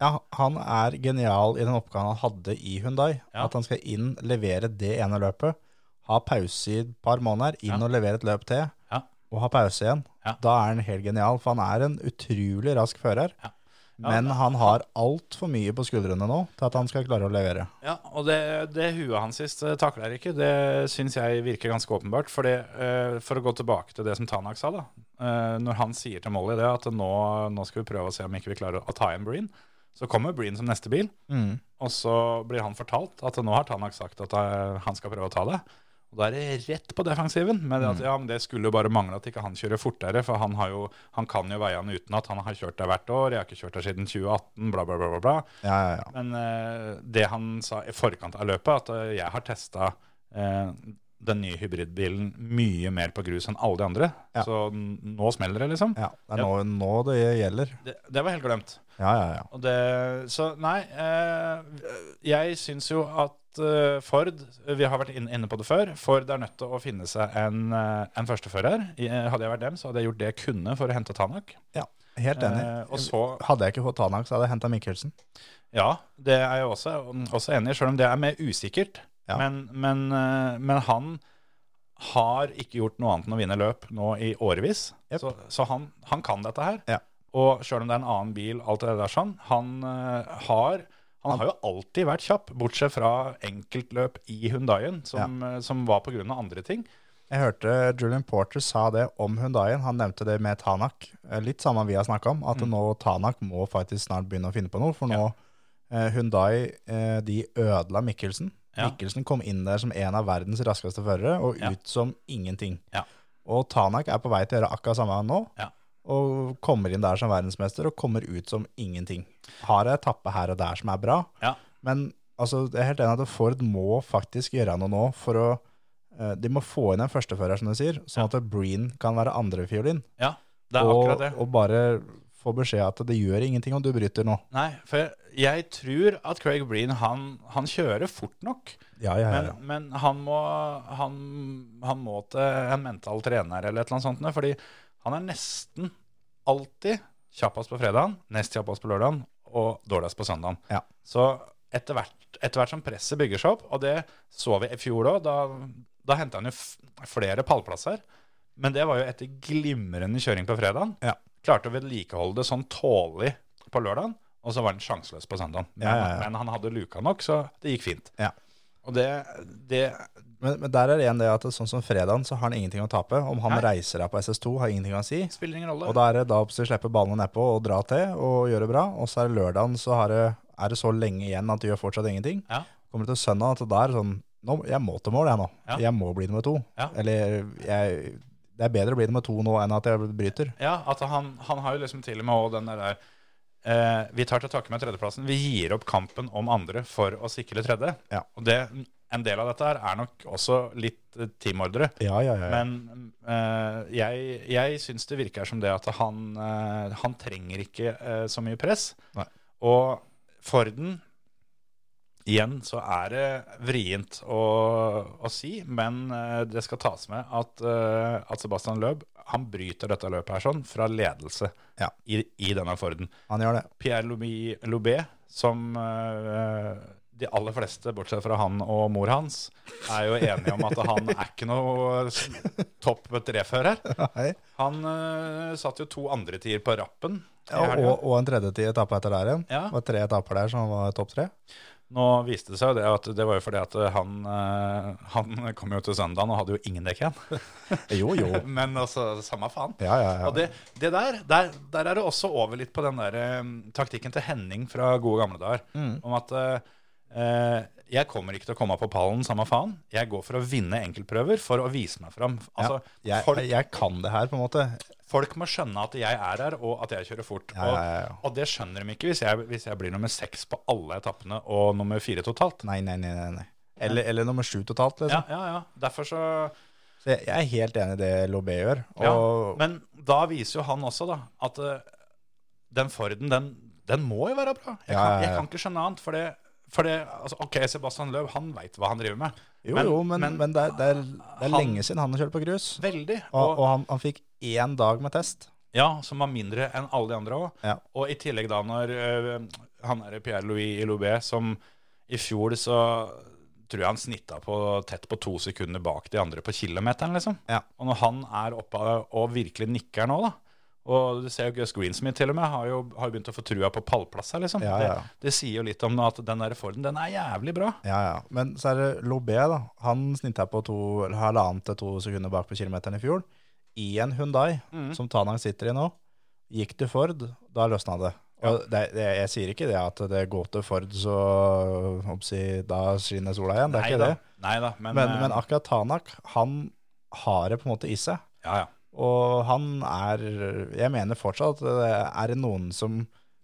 Speaker 5: Ja, han er genial i den oppgaven han hadde i Hundai.
Speaker 4: Ja.
Speaker 5: At han skal inn, levere det ene løpet, ha pause i et par måneder, inn
Speaker 4: Ja.
Speaker 5: og levere et løp til,
Speaker 4: Ja.
Speaker 5: og ha pause igjen.
Speaker 4: Ja.
Speaker 5: Da er han helt genial, for han er en utrolig rask fører.
Speaker 4: Ja.
Speaker 5: Men han har altfor mye på skuldrene nå til at han skal klare å levere.
Speaker 4: Ja, og det, det huet hans sist eh, takler ikke, det syns jeg virker ganske åpenbart. For, det, eh, for å gå tilbake til det som Tanak sa, da. eh, når han sier til Molly det at nå, nå skal vi prøve å se om ikke vi klarer å, å ta igjen Breen, så kommer Breen som neste bil.
Speaker 5: Mm.
Speaker 4: Og så blir han fortalt at nå har Tanak sagt at eh, han skal prøve å ta det. Og da er det rett på defensiven. Men det, at, ja, men det skulle jo bare mangle at ikke han kjører fortere, for han, har jo, han kan jo veiene uten at han har kjørt der hvert år. Jeg har ikke kjørt der siden 2018, bla, bla, bla. bla, bla.
Speaker 5: Ja, ja, ja.
Speaker 4: Men eh, det han sa i forkant av løpet, at eh, jeg har testa den nye hybridbilen mye mer på grus enn alle de andre.
Speaker 5: Ja.
Speaker 4: Så n- nå smeller det, liksom.
Speaker 5: ja. Det er nå, nå det gjelder.
Speaker 4: Det, det var helt glemt.
Speaker 5: Ja, ja, ja.
Speaker 4: Og det, så nei, eh, jeg syns jo at eh, Ford Vi har vært inn- inne på det før. Ford er nødt til å finne seg en, eh, en førstefører. I- eh, Hadde jeg vært dem, så hadde jeg gjort det jeg kunne for å hente Tanak.
Speaker 5: Helt enig.
Speaker 4: Eh, og så-
Speaker 5: Hadde jeg ikke fått Tanak, så hadde jeg henta Mikkelsen.
Speaker 4: Ja, det er jeg også, um, også enig i, sjøl om det er mer usikkert.
Speaker 5: Ja.
Speaker 4: Men, men, eh, men han har ikke gjort noe annet enn å vinne løp nå i årevis.
Speaker 5: Jep.
Speaker 4: Så, så han, han kan dette her.
Speaker 5: Ja.
Speaker 4: Og sjøl om det er en annen bil, alt det der sånn, han eh, har han har jo alltid vært kjapp, bortsett fra enkeltløp i Hundaien, som, eh, som var pga. andre ting.
Speaker 5: Jeg hørte Julian Porter sa det om Hundaien. Han nevnte det med Tanak. Eh, Litt samme vi har snakka om, at
Speaker 4: Mm.
Speaker 5: nå Tanak må faktisk snart begynne å finne på noe. For nå eh, Hyundai, eh, de ødela Mikkelsen.
Speaker 4: Ja.
Speaker 5: Mikkelsen kom inn der som en av verdens raskeste førere, og
Speaker 4: Ja.
Speaker 5: ut som ingenting.
Speaker 4: Ja.
Speaker 5: Og Tanak er på vei til å gjøre akkurat samme nå.
Speaker 4: Ja.
Speaker 5: Og kommer inn der som verdensmester og kommer ut som ingenting. Har en etappe her og der som er bra,
Speaker 4: Ja.
Speaker 5: men altså, jeg er helt enig at Ford må faktisk gjøre noe nå for å eh, De må få inn en førstefører, som du sier, sånn at Breen kan være andrefiolin.
Speaker 4: Ja, det er
Speaker 5: Og,
Speaker 4: akkurat det.
Speaker 5: og bare få beskjed at det gjør ingenting om du bryter nå.
Speaker 4: Nei, for jeg tror at Craig Breen, han, han kjører fort nok.
Speaker 5: Ja, ja,
Speaker 4: Men, men han, må, han, han må til en mental trener eller et eller annet sånt, nå, fordi han er nesten alltid kjappest på fredagen, nest kjappest på lørdagen og dårligst på søndagen.
Speaker 5: Ja.
Speaker 4: Så etter hvert, etter hvert som presset bygger seg opp, og det så vi i fjor òg, da, da henta han jo f flere pallplasser. Men det var jo etter glimrende kjøring på fredagen.
Speaker 5: Ja.
Speaker 4: Klarte å vedlikeholde det sånn tålelig på lørdagen, og så var han sjanseløs på søndagen. Men,
Speaker 5: Ja, ja, ja.
Speaker 4: men han hadde luka nok, så det gikk fint.
Speaker 5: Ja.
Speaker 4: Og det, det
Speaker 5: Men, men der er det igjen det at sånn som fredagen, så har han ingenting å tape. Om han
Speaker 4: Nei.
Speaker 5: reiser deg på SS2, har ingenting å si.
Speaker 4: spiller ingen rolle.
Speaker 5: Og da er det da å slippe ballene nedpå og dra til og gjøre bra. Og så er det lørdagen, så har det, er det så lenge igjen at du gjør fortsatt ingenting.
Speaker 4: Ja.
Speaker 5: Kommer det til søndag, at da er det sånn nå, Jeg må til mål, jeg nå.
Speaker 4: Ja.
Speaker 5: Jeg må bli nummer to.
Speaker 4: Ja.
Speaker 5: Eller jeg, det er bedre å bli nummer to nå enn at jeg bryter.
Speaker 4: Ja, at han, han har jo liksom til og med også den der eh, Vi tar til takke med tredjeplassen. Vi gir opp kampen om andre for å sikre tredje.
Speaker 5: Ja.
Speaker 4: Og det, en del av dette her er nok også litt eh, teamordre.
Speaker 5: Ja, ja, ja. ja.
Speaker 4: Men eh, jeg, jeg syns det virker som det at han, eh, han trenger ikke eh, så mye press.
Speaker 5: Nei.
Speaker 4: Og Forden Igjen så er det vrient å, å si, men eh, det skal tas med at, eh, at Sebastian Løb han bryter dette løpet her sånn fra ledelse
Speaker 5: Ja.
Speaker 4: i, i denne Forden.
Speaker 5: han gjør det.
Speaker 4: Pierre Loubi- Loubet, som eh, de aller fleste, bortsett fra han og mor hans, er jo enige om at han er ikke noe s- topp trefører.
Speaker 5: Nei.
Speaker 4: Han eh, satt jo to andre tider på rappen. i
Speaker 5: Ja,
Speaker 4: helga.
Speaker 5: og, og en tredje ti etappe etter der igjen.
Speaker 4: Ja.
Speaker 5: Det var tre etapper der som var topp tre.
Speaker 4: Nå viste det seg jo det at det var jo fordi at han, eh, han kom jo til søndagen og hadde jo ingen dekk igjen.
Speaker 5: Jo, jo.
Speaker 4: Men altså, samme faen.
Speaker 5: Ja, ja, ja.
Speaker 4: Og det, det der, der, der er det også over litt på den der eh, taktikken til Henning fra gode gamle dager.
Speaker 5: Mm.
Speaker 4: Om at eh, eh, jeg kommer ikke til å komme opp på pallen, samme faen. Jeg går for å vinne enkeltprøver for å vise meg fram. Altså,
Speaker 5: ja. Jeg,
Speaker 4: folk,
Speaker 5: jeg kan det her, på en måte.
Speaker 4: folk må skjønne at jeg er her, og at jeg kjører fort.
Speaker 5: Ja, ja, ja.
Speaker 4: Og, og det skjønner de ikke hvis jeg, hvis jeg blir nummer seks på alle etappene og nummer fire totalt.
Speaker 5: Nei, nei, nei. nei, nei. Eller, eller nummer sju totalt, liksom.
Speaker 4: Ja, ja, ja. Derfor så
Speaker 5: Så jeg, jeg er helt enig i det Lobé gjør. Og,
Speaker 4: Ja, men da viser jo han også da at eh, den Forden, den, den må jo være bra. Jeg kan,
Speaker 5: Ja, ja, ja.
Speaker 4: Jeg kan ikke skjønne annet. For det, for det altså, OK, Sebastian Løv, han veit hva han driver med.
Speaker 5: jo, jo, men, men, det er, det er, det er
Speaker 4: han-
Speaker 5: lenge siden han har kjørt på grus.
Speaker 4: Veldig.
Speaker 5: Og, og han, han fikk én dag med test.
Speaker 4: ja, som var mindre enn alle de andre òg.
Speaker 5: Ja.
Speaker 4: Og i tillegg da når eh, han er Pierre-Louis Loubet, som i fjor så tror jeg han snitta på tett på to sekunder bak de andre på kilometeren, liksom.
Speaker 5: Ja.
Speaker 4: Og når han er oppe og virkelig nikker nå, da og du ser jo Gus Greensmith til og med har jo, har jo begynt å få trua på pallplass her, liksom.
Speaker 5: Ja, ja.
Speaker 4: Det, det sier jo litt om at den der Forden, den er jævlig bra.
Speaker 5: Ja, ja. Men så er det Lobé, da. Han snitta på to, eller halvannet til to sekunder bak på kilometeren i fjor. i en Hyundai,
Speaker 4: Mm.
Speaker 5: som Tanang sitter i nå, gikk til Ford, da løsna det. Og det, det, jeg sier ikke det at det går til Ford, så oppsi, da skinner sola igjen. Det er ikke
Speaker 4: da.
Speaker 5: det.
Speaker 4: Nei da, men,
Speaker 5: Men, men
Speaker 4: eh,
Speaker 5: akkurat Tanak, han har det på en måte i seg.
Speaker 4: ja, ja.
Speaker 5: Og han er Jeg mener fortsatt at det er det noen som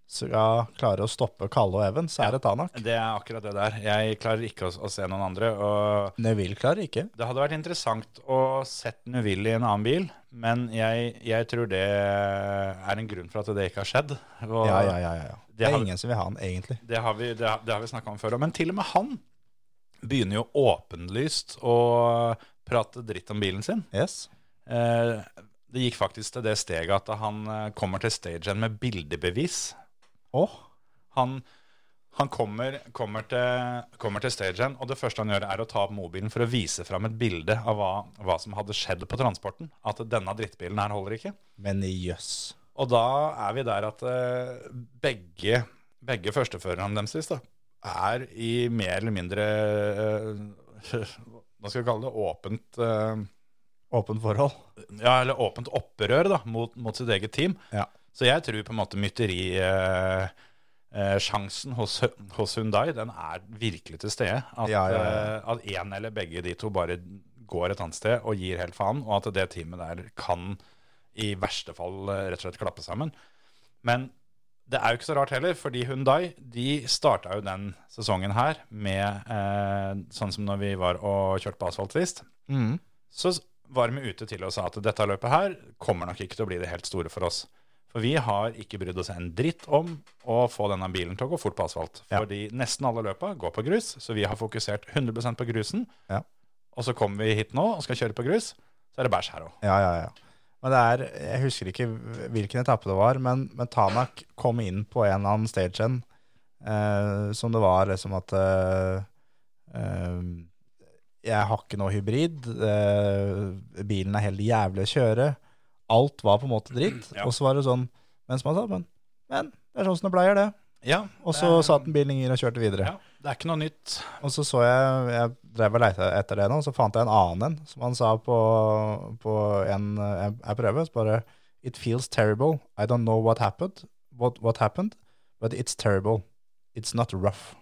Speaker 5: skal klare å stoppe Kalle og Even, så er det Tanak.
Speaker 4: Det er akkurat det der. Jeg klarer ikke å, å se noen andre. Og
Speaker 5: Neville klarer ikke.
Speaker 4: det hadde vært interessant å sett Nuville i en annen bil, men jeg, jeg tror det er en grunn for at det ikke har skjedd. Og
Speaker 5: Ja, ja, ja, ja, ja. Det
Speaker 4: har-
Speaker 5: er ingen som vil ha han, egentlig.
Speaker 4: Det har vi, det har, det har vi snakka om før òg. Men til og med han begynner jo åpenlyst å prate dritt om bilen sin.
Speaker 5: Yes.
Speaker 4: Eh, det gikk faktisk til det steget at han eh, kommer til stagen med bildebevis.
Speaker 5: Åh,
Speaker 4: Han, han kommer, kommer, til, kommer til stagen, og det første han gjør, er å ta opp mobilen for å vise fram et bilde av hva, hva som hadde skjedd på transporten. At denne drittbilen her holder ikke.
Speaker 5: men jøss.
Speaker 4: Og da er vi der at eh, begge, begge førsteførerne deres sist, da, er i mer eller mindre eh, Hva skal vi kalle det? Åpent eh,
Speaker 5: Åpent forhold.
Speaker 4: ja, eller åpent opprør da, mot, mot sitt eget team.
Speaker 5: Ja.
Speaker 4: Så jeg tror på en måte mytterisjansen eh, sjansen hos, hos Hyundai, den er virkelig til stede. At,
Speaker 5: Ja, ja, ja.
Speaker 4: eh, at en eller begge de to bare går et annet sted og gir helt faen, og at det teamet der kan i verste fall eh, rett og slett klappe sammen. Men det er jo ikke så rart heller, fordi Hyundai de starta jo den sesongen her med eh, sånn som når vi var og kjørte på asfalt sist
Speaker 5: Mm.
Speaker 4: så var vi ute til og sa at dette løpet her kommer nok ikke til å bli det helt store for oss. For vi har ikke brydd oss en dritt om å få denne bilen til å gå fort på asfalt.
Speaker 5: Ja.
Speaker 4: Fordi nesten alle løpa går på grus, så vi har fokusert 100 på grusen.
Speaker 5: Ja.
Speaker 4: Og så kommer vi hit nå og skal kjøre på grus, så er det bæsj her òg.
Speaker 5: Ja, ja, ja. Men det er, jeg husker ikke hvilken etappe det var, men, men Tanak kom inn på en eller annen stage end, eh, som det var liksom at eh, eh, jeg har ikke noe hybrid, eh, bilen er helt jævlig å kjøre, alt var på en måte dritt,
Speaker 4: Ja.
Speaker 5: og så var det sånn, mens man sa, men, men det er sånn som det bleier det.
Speaker 4: Ja,
Speaker 5: Og så satt den bilen i gir og kjørte videre.
Speaker 4: Eh, ja, det er ikke noe nytt.
Speaker 5: Og så så jeg, jeg drev og leita etter det nå, så fant jeg en annen en, som han sa på, på en eh, jeg prøver. Så bare It feels terrible. I don't know what happened, what, what happened, but it's terrible. It's not rough.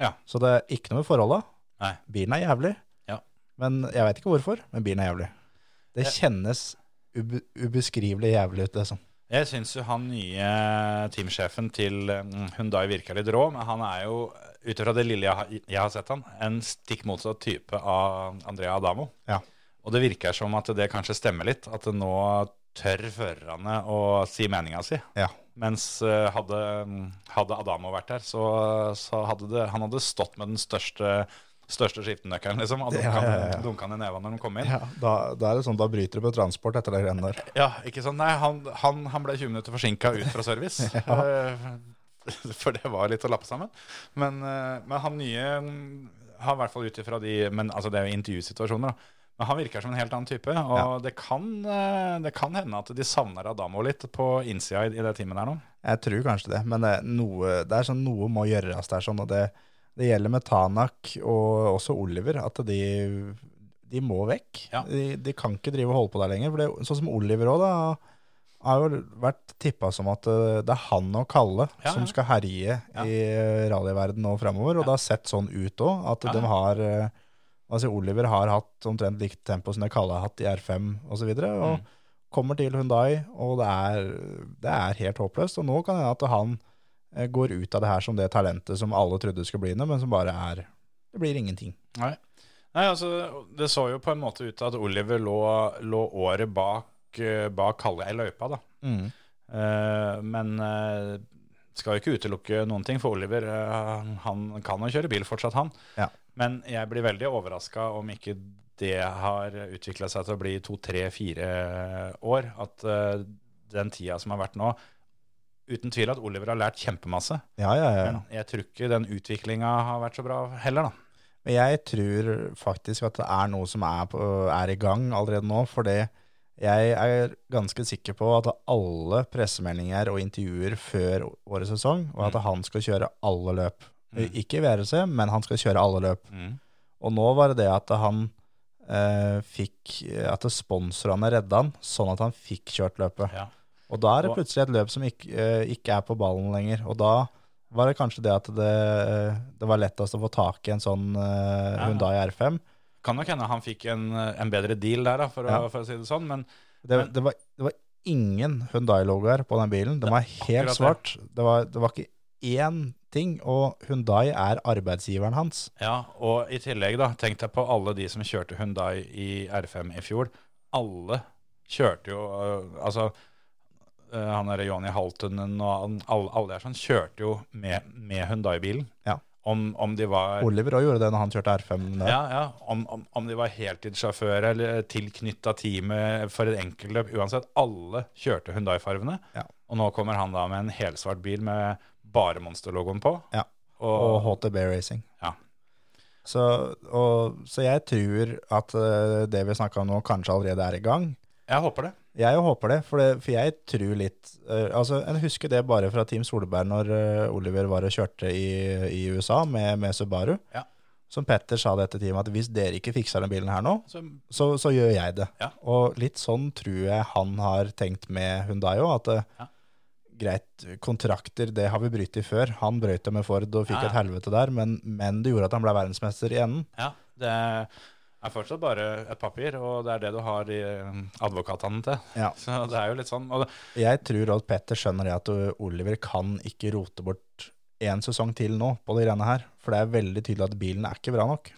Speaker 4: Ja.
Speaker 5: Så det er ikke noe med forholdet.
Speaker 4: Nei.
Speaker 5: Bilen er jævlig.
Speaker 4: Ja.
Speaker 5: Men jeg veit ikke hvorfor, men bilen er jævlig. Det kjennes ub ubeskrivelig jævlig ut, liksom.
Speaker 4: Jeg syns jo han nye teamsjefen til Hundai virker litt rå, men han er jo, ut ifra det lille jeg har, jeg har sett han, en stikk motsatt type av Andrea Adamo.
Speaker 5: Ja.
Speaker 4: Og det virker som at det kanskje stemmer litt, at nå tør førerne å si meninga si.
Speaker 5: Ja.
Speaker 4: Mens eh, hadde, hadde Adamo vært der, så, så hadde det, han hadde stått med den største, største skiftenøkkelen, liksom, og
Speaker 5: Ja,
Speaker 4: dunka
Speaker 5: ja, ja.
Speaker 4: den- dunka den i neva når de kom inn.
Speaker 5: ja da, da er det sånn, da bryter du på transport etter det greiene der.
Speaker 4: Ja, ikke sant? Nei, han, han, han ble 20 minutter forsinka ut fra service. Eh, For det var litt å lappe sammen. Men, eh, men han nye mm, har i hvert fall ut ifra de Men altså, det er jo intervjusituasjoner, da. Men han virker som en helt annen type. Og
Speaker 5: Ja.
Speaker 4: det, kan, eh, det kan hende at de savner Adamo litt på innsida i i det teamet der nå.
Speaker 5: Jeg tror kanskje det, men det er, noe, det er sånn noe må gjøres der, sånn, og det, det gjelder med Tanak og også Oliver, at de, de må vekk.
Speaker 4: Ja.
Speaker 5: De, de kan ikke drive og holde på der lenger, for det, sånn som Oliver også da, har jo vært tippet som at eh, det er han og Kalle
Speaker 4: Ja, ja.
Speaker 5: som skal herje i eh, rallyverden nå fremover, og det har sett sånn ut også,
Speaker 4: Ja,
Speaker 5: at
Speaker 4: ja.
Speaker 5: de har... eh, Altså Oliver har hatt omtrent likt tempo som det Kalle har hatt i R5 og så videre, og kommer til Hyundai, og det er, det er helt håpløst. Og nå kan det hende at han eh, går ut av det her som det talentet som alle trodde skulle bli noe, men som bare er Det blir ingenting.
Speaker 4: Nei. Nei, altså, det så jo på en måte ut til at Oliver lå, lå året bak, eh, bak Kalle i løypa, da. Eh, men eh, skal jo ikke utelukke noen ting, for Oliver eh, han kan jo kjøre bil fortsatt, han.
Speaker 5: Ja.
Speaker 4: Men jeg blir veldig overraska om ikke det har utvikla seg til å bli to, tre, fire år. At eh, den tida som har vært nå Uten tvil at Oliver har lært kjempemasse.
Speaker 5: Ja, ja, ja.
Speaker 4: Men jeg tror ikke den utviklinga har vært så bra heller, da.
Speaker 5: Men jeg tror faktisk at det er noe som er, på, er i gang allerede nå, fordi jeg er ganske sikker på at alle pressemeldinger og intervjuer før årets sesong, og at han skal kjøre alle Eh, løp. Ikke i VRC, men han skal kjøre alle løp. Og nå var det det at han eh, fikk at sponsorene redda han, sånn at han fikk kjørt løpet.
Speaker 4: Ja.
Speaker 5: Og da er det
Speaker 4: Og-
Speaker 5: plutselig et løp som ikke, eh, ikke er på ballen lenger. Og da var det kanskje det at det, det var lettest å få tak i en sånn eh,
Speaker 4: ja.
Speaker 5: Hyundai R5.
Speaker 4: Kan nok hende han fikk en, eh, en bedre deal der, da, for,
Speaker 5: Ja.
Speaker 4: å, for å si det sånn. Men
Speaker 5: Det,
Speaker 4: Men-
Speaker 5: det, var, det var ingen Hyundai-logoer på den bilen. Den var helt
Speaker 4: akkurat det.
Speaker 5: svart. Det var, det var ikke én ting. Og Hyundai er arbeidsgiveren hans.
Speaker 4: ja, og i tillegg, da, tenk deg på alle de som kjørte Hundai i R5 i fjor. Alle kjørte jo øh, Altså, øh, han derre Johnny Haltunen og han, alle, alle der sånn kjørte jo med, med Hundai-bilen.
Speaker 5: Ja.
Speaker 4: Om, om de var
Speaker 5: Oliver òg gjorde det når han kjørte R5. Der.
Speaker 4: Ja, ja. Om, om, om de var heltidssjåfører eller tilknytta teamet for et enkeltløp. Uansett, alle kjørte Hundai-farvene.
Speaker 5: Ja.
Speaker 4: Og nå kommer han da med en helsvart bil med bare Monster-logoen på.
Speaker 5: Ja.
Speaker 4: Og,
Speaker 5: og HTB Racing.
Speaker 4: Ja.
Speaker 5: Så, og, så jeg tror at eh, det vi snakka om nå, kanskje allerede er i gang.
Speaker 4: jeg håper det.
Speaker 5: Jeg jo håper det, for, det, for jeg tror litt eh, Altså, Jeg husker det bare fra Team Solberg når eh, Oliver var og kjørte i, i USA med, med Subaru.
Speaker 4: Ja.
Speaker 5: Som Petter sa det etter teamet, at hvis dere ikke fikser den bilen her nå,
Speaker 4: Så,
Speaker 5: så, så gjør jeg det.
Speaker 4: Ja.
Speaker 5: Og litt sånn tror jeg han har tenkt med Hyundai òg, at eh,
Speaker 4: Ja.
Speaker 5: greit, kontrakter det har vi brytt i før. Han brøt det med Ford og fikk
Speaker 4: Ja, ja.
Speaker 5: et helvete der, men, men det gjorde at han ble verdensmester i enden.
Speaker 4: ja, det er fortsatt bare et papir, og det er det du har i eh, advokatene til.
Speaker 5: Ja.
Speaker 4: Så det er jo litt sånn. Og det,
Speaker 5: Jeg tror at Petter skjønner det at uh, Oliver kan ikke rote bort én sesong til nå på de greiene her, for det er veldig tydelig at bilen er ikke bra nok.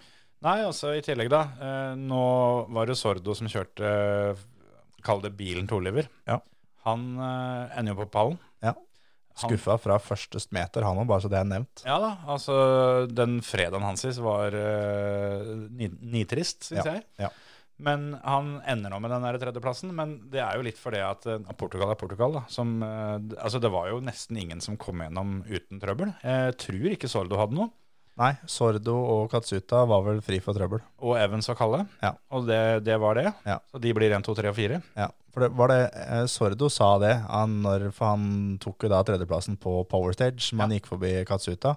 Speaker 4: Nei, altså i tillegg da, eh, nå var det Sordo som kjørte, eh, kall det bilen til Oliver.
Speaker 5: Ja.
Speaker 4: Han eh, ender jo på pallen.
Speaker 5: Ja.
Speaker 4: Han-
Speaker 5: Skuffa fra første meter, han òg, bare så det er nevnt.
Speaker 4: Ja da, altså den fredagen hans sist var eh, ni- nitrist, syns
Speaker 5: Ja,
Speaker 4: jeg.
Speaker 5: ja.
Speaker 4: Men han ender nå med den der tredjeplassen, men det er jo litt fordi at eh, Portugal er Portugal, da. Som, eh, d- altså det var jo nesten ingen som kom gjennom uten trøbbel. Jeg tror ikke Sordo hadde noe,
Speaker 5: Nei, Sordo og Katsuta var vel fri for trøbbel.
Speaker 4: og Evans og Kalle.
Speaker 5: Ja.
Speaker 4: Og det, det var det.
Speaker 5: Ja.
Speaker 4: Så de blir 1, 2, 3 og 4.
Speaker 5: Ja, for det var det eh, Sordo sa det, han, når, for han tok jo da tredjeplassen på Power Stage, men gikk forbi Katsuta.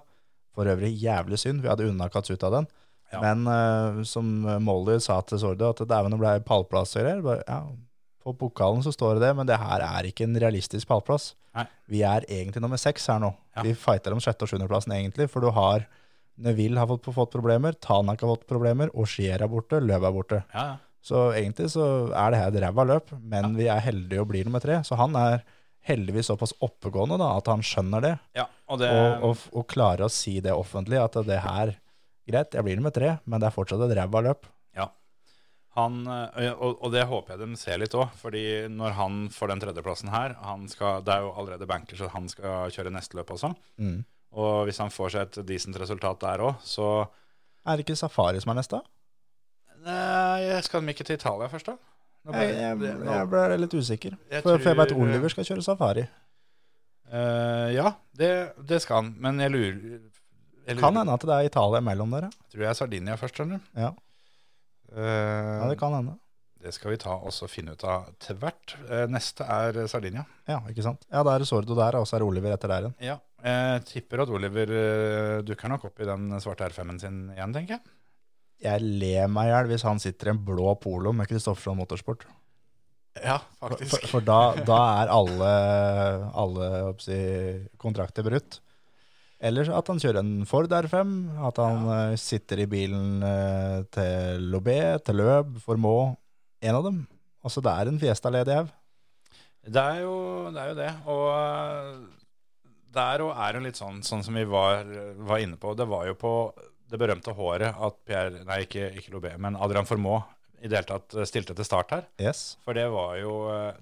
Speaker 5: For øvrig jævlig synd, vi hadde unna Katsuta den.
Speaker 4: Ja.
Speaker 5: Men eh, som Molly sa til Sordo, at dæven, det ble pallplass og greier. Bare, Ja, på pokalen så står det det, men det her er ikke en realistisk pallplass.
Speaker 4: Nei.
Speaker 5: Vi er egentlig nummer seks her nå.
Speaker 4: Ja.
Speaker 5: Vi fighter om sjette- og sjuendeplassen egentlig, for du har Neville har fått, fått problemer, Tanak har fått problemer, Oshier er borte, Løb er borte.
Speaker 4: Ja, ja.
Speaker 5: Så egentlig så er det her et ræva løp, men vi er heldige og blir nummer tre. Så han er heldigvis såpass oppegående da, at han skjønner det,
Speaker 4: Ja, og det,
Speaker 5: og, og, og klarer å si det offentlig at det her Greit, jeg blir nummer tre, men det er fortsatt et ræva løp.
Speaker 4: Han, eh, og, og det håper jeg de ser litt òg, fordi når han får den tredjeplassen her han skal, Det er jo allerede bankers at han skal kjøre neste løp også.
Speaker 5: Mm.
Speaker 4: Og hvis han får seg et decent resultat der òg, så
Speaker 5: Er det ikke Safari som er neste?
Speaker 4: Nei, jeg skal de ikke til Italia først, da? Nå ble-
Speaker 5: Jeg, jeg,
Speaker 4: nå-
Speaker 5: jeg ble litt usikker.
Speaker 4: Jeg
Speaker 5: For, for jeg vet
Speaker 4: tror-
Speaker 5: Oliver skal kjøre Safari.
Speaker 4: Eh, ja, det, det skal han. Men jeg lurer, jeg lurer
Speaker 5: Kan hende at det er Italia mellom dere.
Speaker 4: Tror jeg er Sardinia først, skjønner du.
Speaker 5: Ja.
Speaker 4: Eh,
Speaker 5: Ja, det kan hende.
Speaker 4: det skal vi ta og så finne ut av tvert. Eh, neste er Sardinia.
Speaker 5: Ja, ikke sant? Ja, da er det Sordo der, og så er det Oliver etter der igjen.
Speaker 4: Ja, jeg tipper at Oliver eh, dukker nok opp i den svarte R5-en sin igjen, tenker jeg.
Speaker 5: Jeg ler meg i hjel hvis han sitter i en blå polo med Kristoffersson Motorsport.
Speaker 4: Ja,
Speaker 5: For, for da, da er alle, alle oppsi, kontrakter brutt. Eller at han kjører en Ford R5, at han eh, sitter i bilen eh, til Lobé, til Løb, Formå, en av dem. Altså det er en Fiesta ledig haug.
Speaker 4: Det er jo det. Er jo det. Og eh, der òg er det litt sånn, sånn som vi var, var inne på. Det var jo på det berømte håret at Pierre, nei, ikke, ikke Lobé, men Adrian Formoe i det hele tatt eh, stilte til start her.
Speaker 5: Yes.
Speaker 4: For det var jo,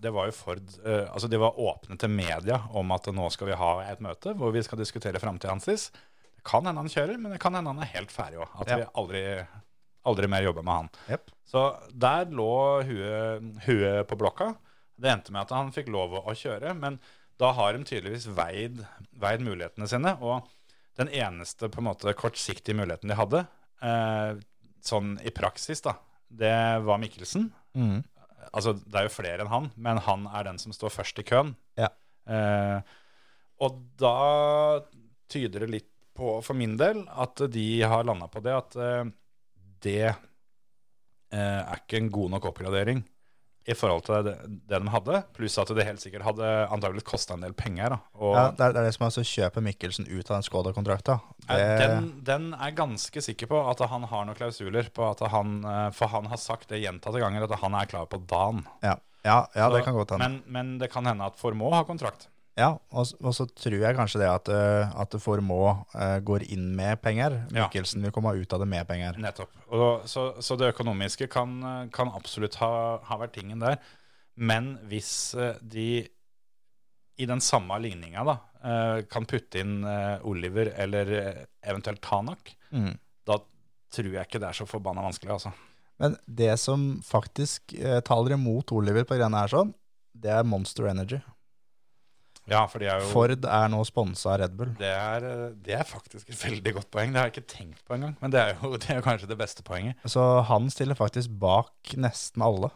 Speaker 4: det var jo Ford eh, Altså, de var åpne til media om at nå skal vi ha et møte hvor vi skal diskutere framtida hans. Det kan hende han kjører, men det kan hende han er helt ferdig òg. At
Speaker 5: Ja.
Speaker 4: vi aldri, aldri mer jobber med han.
Speaker 5: Jep.
Speaker 4: Så der lå huet, huet på blokka. Det endte med at han fikk lov å kjøre, men da har de tydeligvis veid, veid mulighetene sine. Og den eneste på en måte kortsiktige muligheten de hadde, eh, sånn i praksis, da, det var Mikkelsen.
Speaker 5: Mm.
Speaker 4: Altså, det er jo flere enn han, men han er den som står først i køen.
Speaker 5: Ja.
Speaker 4: Eh, og da tyder det litt på, for min del, at de har landa på det at eh, det eh, er ikke en god nok oppgradering i forhold til det, det de hadde. Pluss at det helt sikkert hadde antagelig kosta en del penger. Da. Og
Speaker 5: Ja, det, er, det er det som er så kjøper Mikkelsen ut av den Skoda-kontrakta. Det,
Speaker 4: eh, den, den er ganske sikker på at han har noen klausuler på at han eh, For han har sagt det gjentatte ganger at han er klar på dagen.
Speaker 5: ja, ja, ja det kan godt hende.
Speaker 4: Men, men det kan hende at Formå har kontrakt.
Speaker 5: Ja, og, s- og så tror jeg kanskje det at, eh, at Formå eh, går inn med penger.
Speaker 4: Ja.
Speaker 5: Mikkelsen vil komme ut av det med penger.
Speaker 4: Nettopp. Og så, så det økonomiske kan, kan absolutt ha, ha vært tingen der. Men hvis eh, de i den samme ligninga da, eh, kan putte inn eh, Oliver eller eh, eventuelt Tanak,
Speaker 5: Mm.
Speaker 4: da tror jeg ikke det er så forbanna vanskelig, altså.
Speaker 5: Men det som faktisk eh, taler imot Oliver på greiene her sånn, det er Monster Energy.
Speaker 4: Ja, for de er jo
Speaker 5: Ford er nå sponsa av Red Bull.
Speaker 4: det er, eh, det er faktisk et veldig godt poeng. Det har jeg ikke tenkt på engang. Men det er jo det er kanskje det beste poenget.
Speaker 5: Så han stiller faktisk bak nesten alle.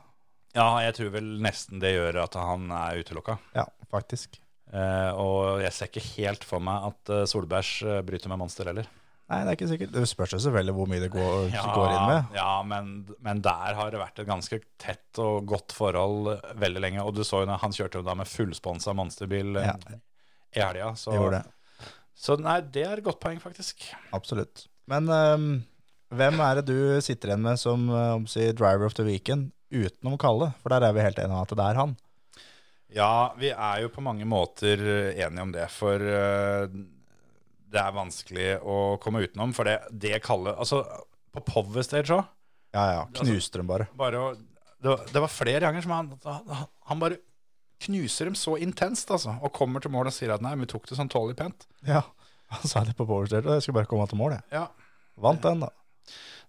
Speaker 4: Ja, jeg tror vel nesten det gjør at han er utelukka.
Speaker 5: Ja, faktisk.
Speaker 4: Eh, og jeg ser ikke helt for meg at eh, Solbergs eh, bryter med Monster heller.
Speaker 5: Nei, det er ikke sikkert. Det spørs jo selvfølgelig hvor mye det går,
Speaker 4: Ja,
Speaker 5: går inn med.
Speaker 4: ja men, men der har det vært et ganske tett og godt forhold eh, veldig lenge. Og du så jo da, han kjørte jo da med fullsponsa monsterbil eh,
Speaker 5: Ja.
Speaker 4: i helga. Så,
Speaker 5: Det gjorde det.
Speaker 4: så nei, det er et godt poeng, faktisk.
Speaker 5: Absolutt. Men ehm, hvem er det du sitter igjen med som eh, om å si, driver of the weekend utenom Kalle? For der er vi helt enige om at det er han.
Speaker 4: Ja, vi er jo på mange måter eh, enige om det, for eh, det er vanskelig å komme utenom. For det, det kaller Altså, på Power Stage òg
Speaker 5: Ja, ja. Knuste dem bare.
Speaker 4: bare å det var, det var flere ganger som han, han, han bare knuser dem så intenst, altså. Og kommer til mål og sier at nei, men vi tok det sånn tålelig pent.
Speaker 5: Ja, han sa det på powerstage, og jeg skulle bare komme til mål, jeg.
Speaker 4: Ja.
Speaker 5: Vant den, da.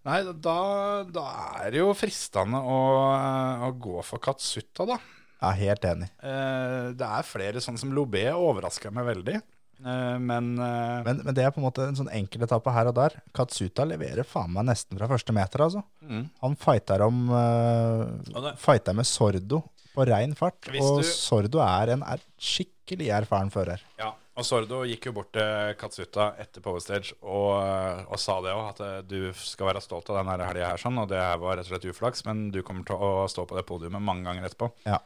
Speaker 4: Nei, da, da er det jo fristende å, eh, å gå for Katsuta, da.
Speaker 5: Jeg er helt enig.
Speaker 4: Eh, det er flere sånn som Lobé overrasker meg veldig. Eh, men eh,
Speaker 5: Men, men det er på en måte en sånn enkel etappe her og der. Katsuta leverer faen meg nesten fra første meter, altså.
Speaker 4: Mm.
Speaker 5: Han fighter om eh,
Speaker 4: Og det-
Speaker 5: Fighter med Sordo på rein fart,
Speaker 4: Hvis
Speaker 5: og
Speaker 4: du-
Speaker 5: Sordo er en er skikkelig erfaren fører.
Speaker 4: ja, og Sordo gikk jo bort til Katsuta etter Powerstage og, og sa det òg, at eh, du skal være stolt av den helga her, sånn, og det her var rett og slett uflaks, men du kommer til å stå på det podiumet mange ganger etterpå.
Speaker 5: Ja.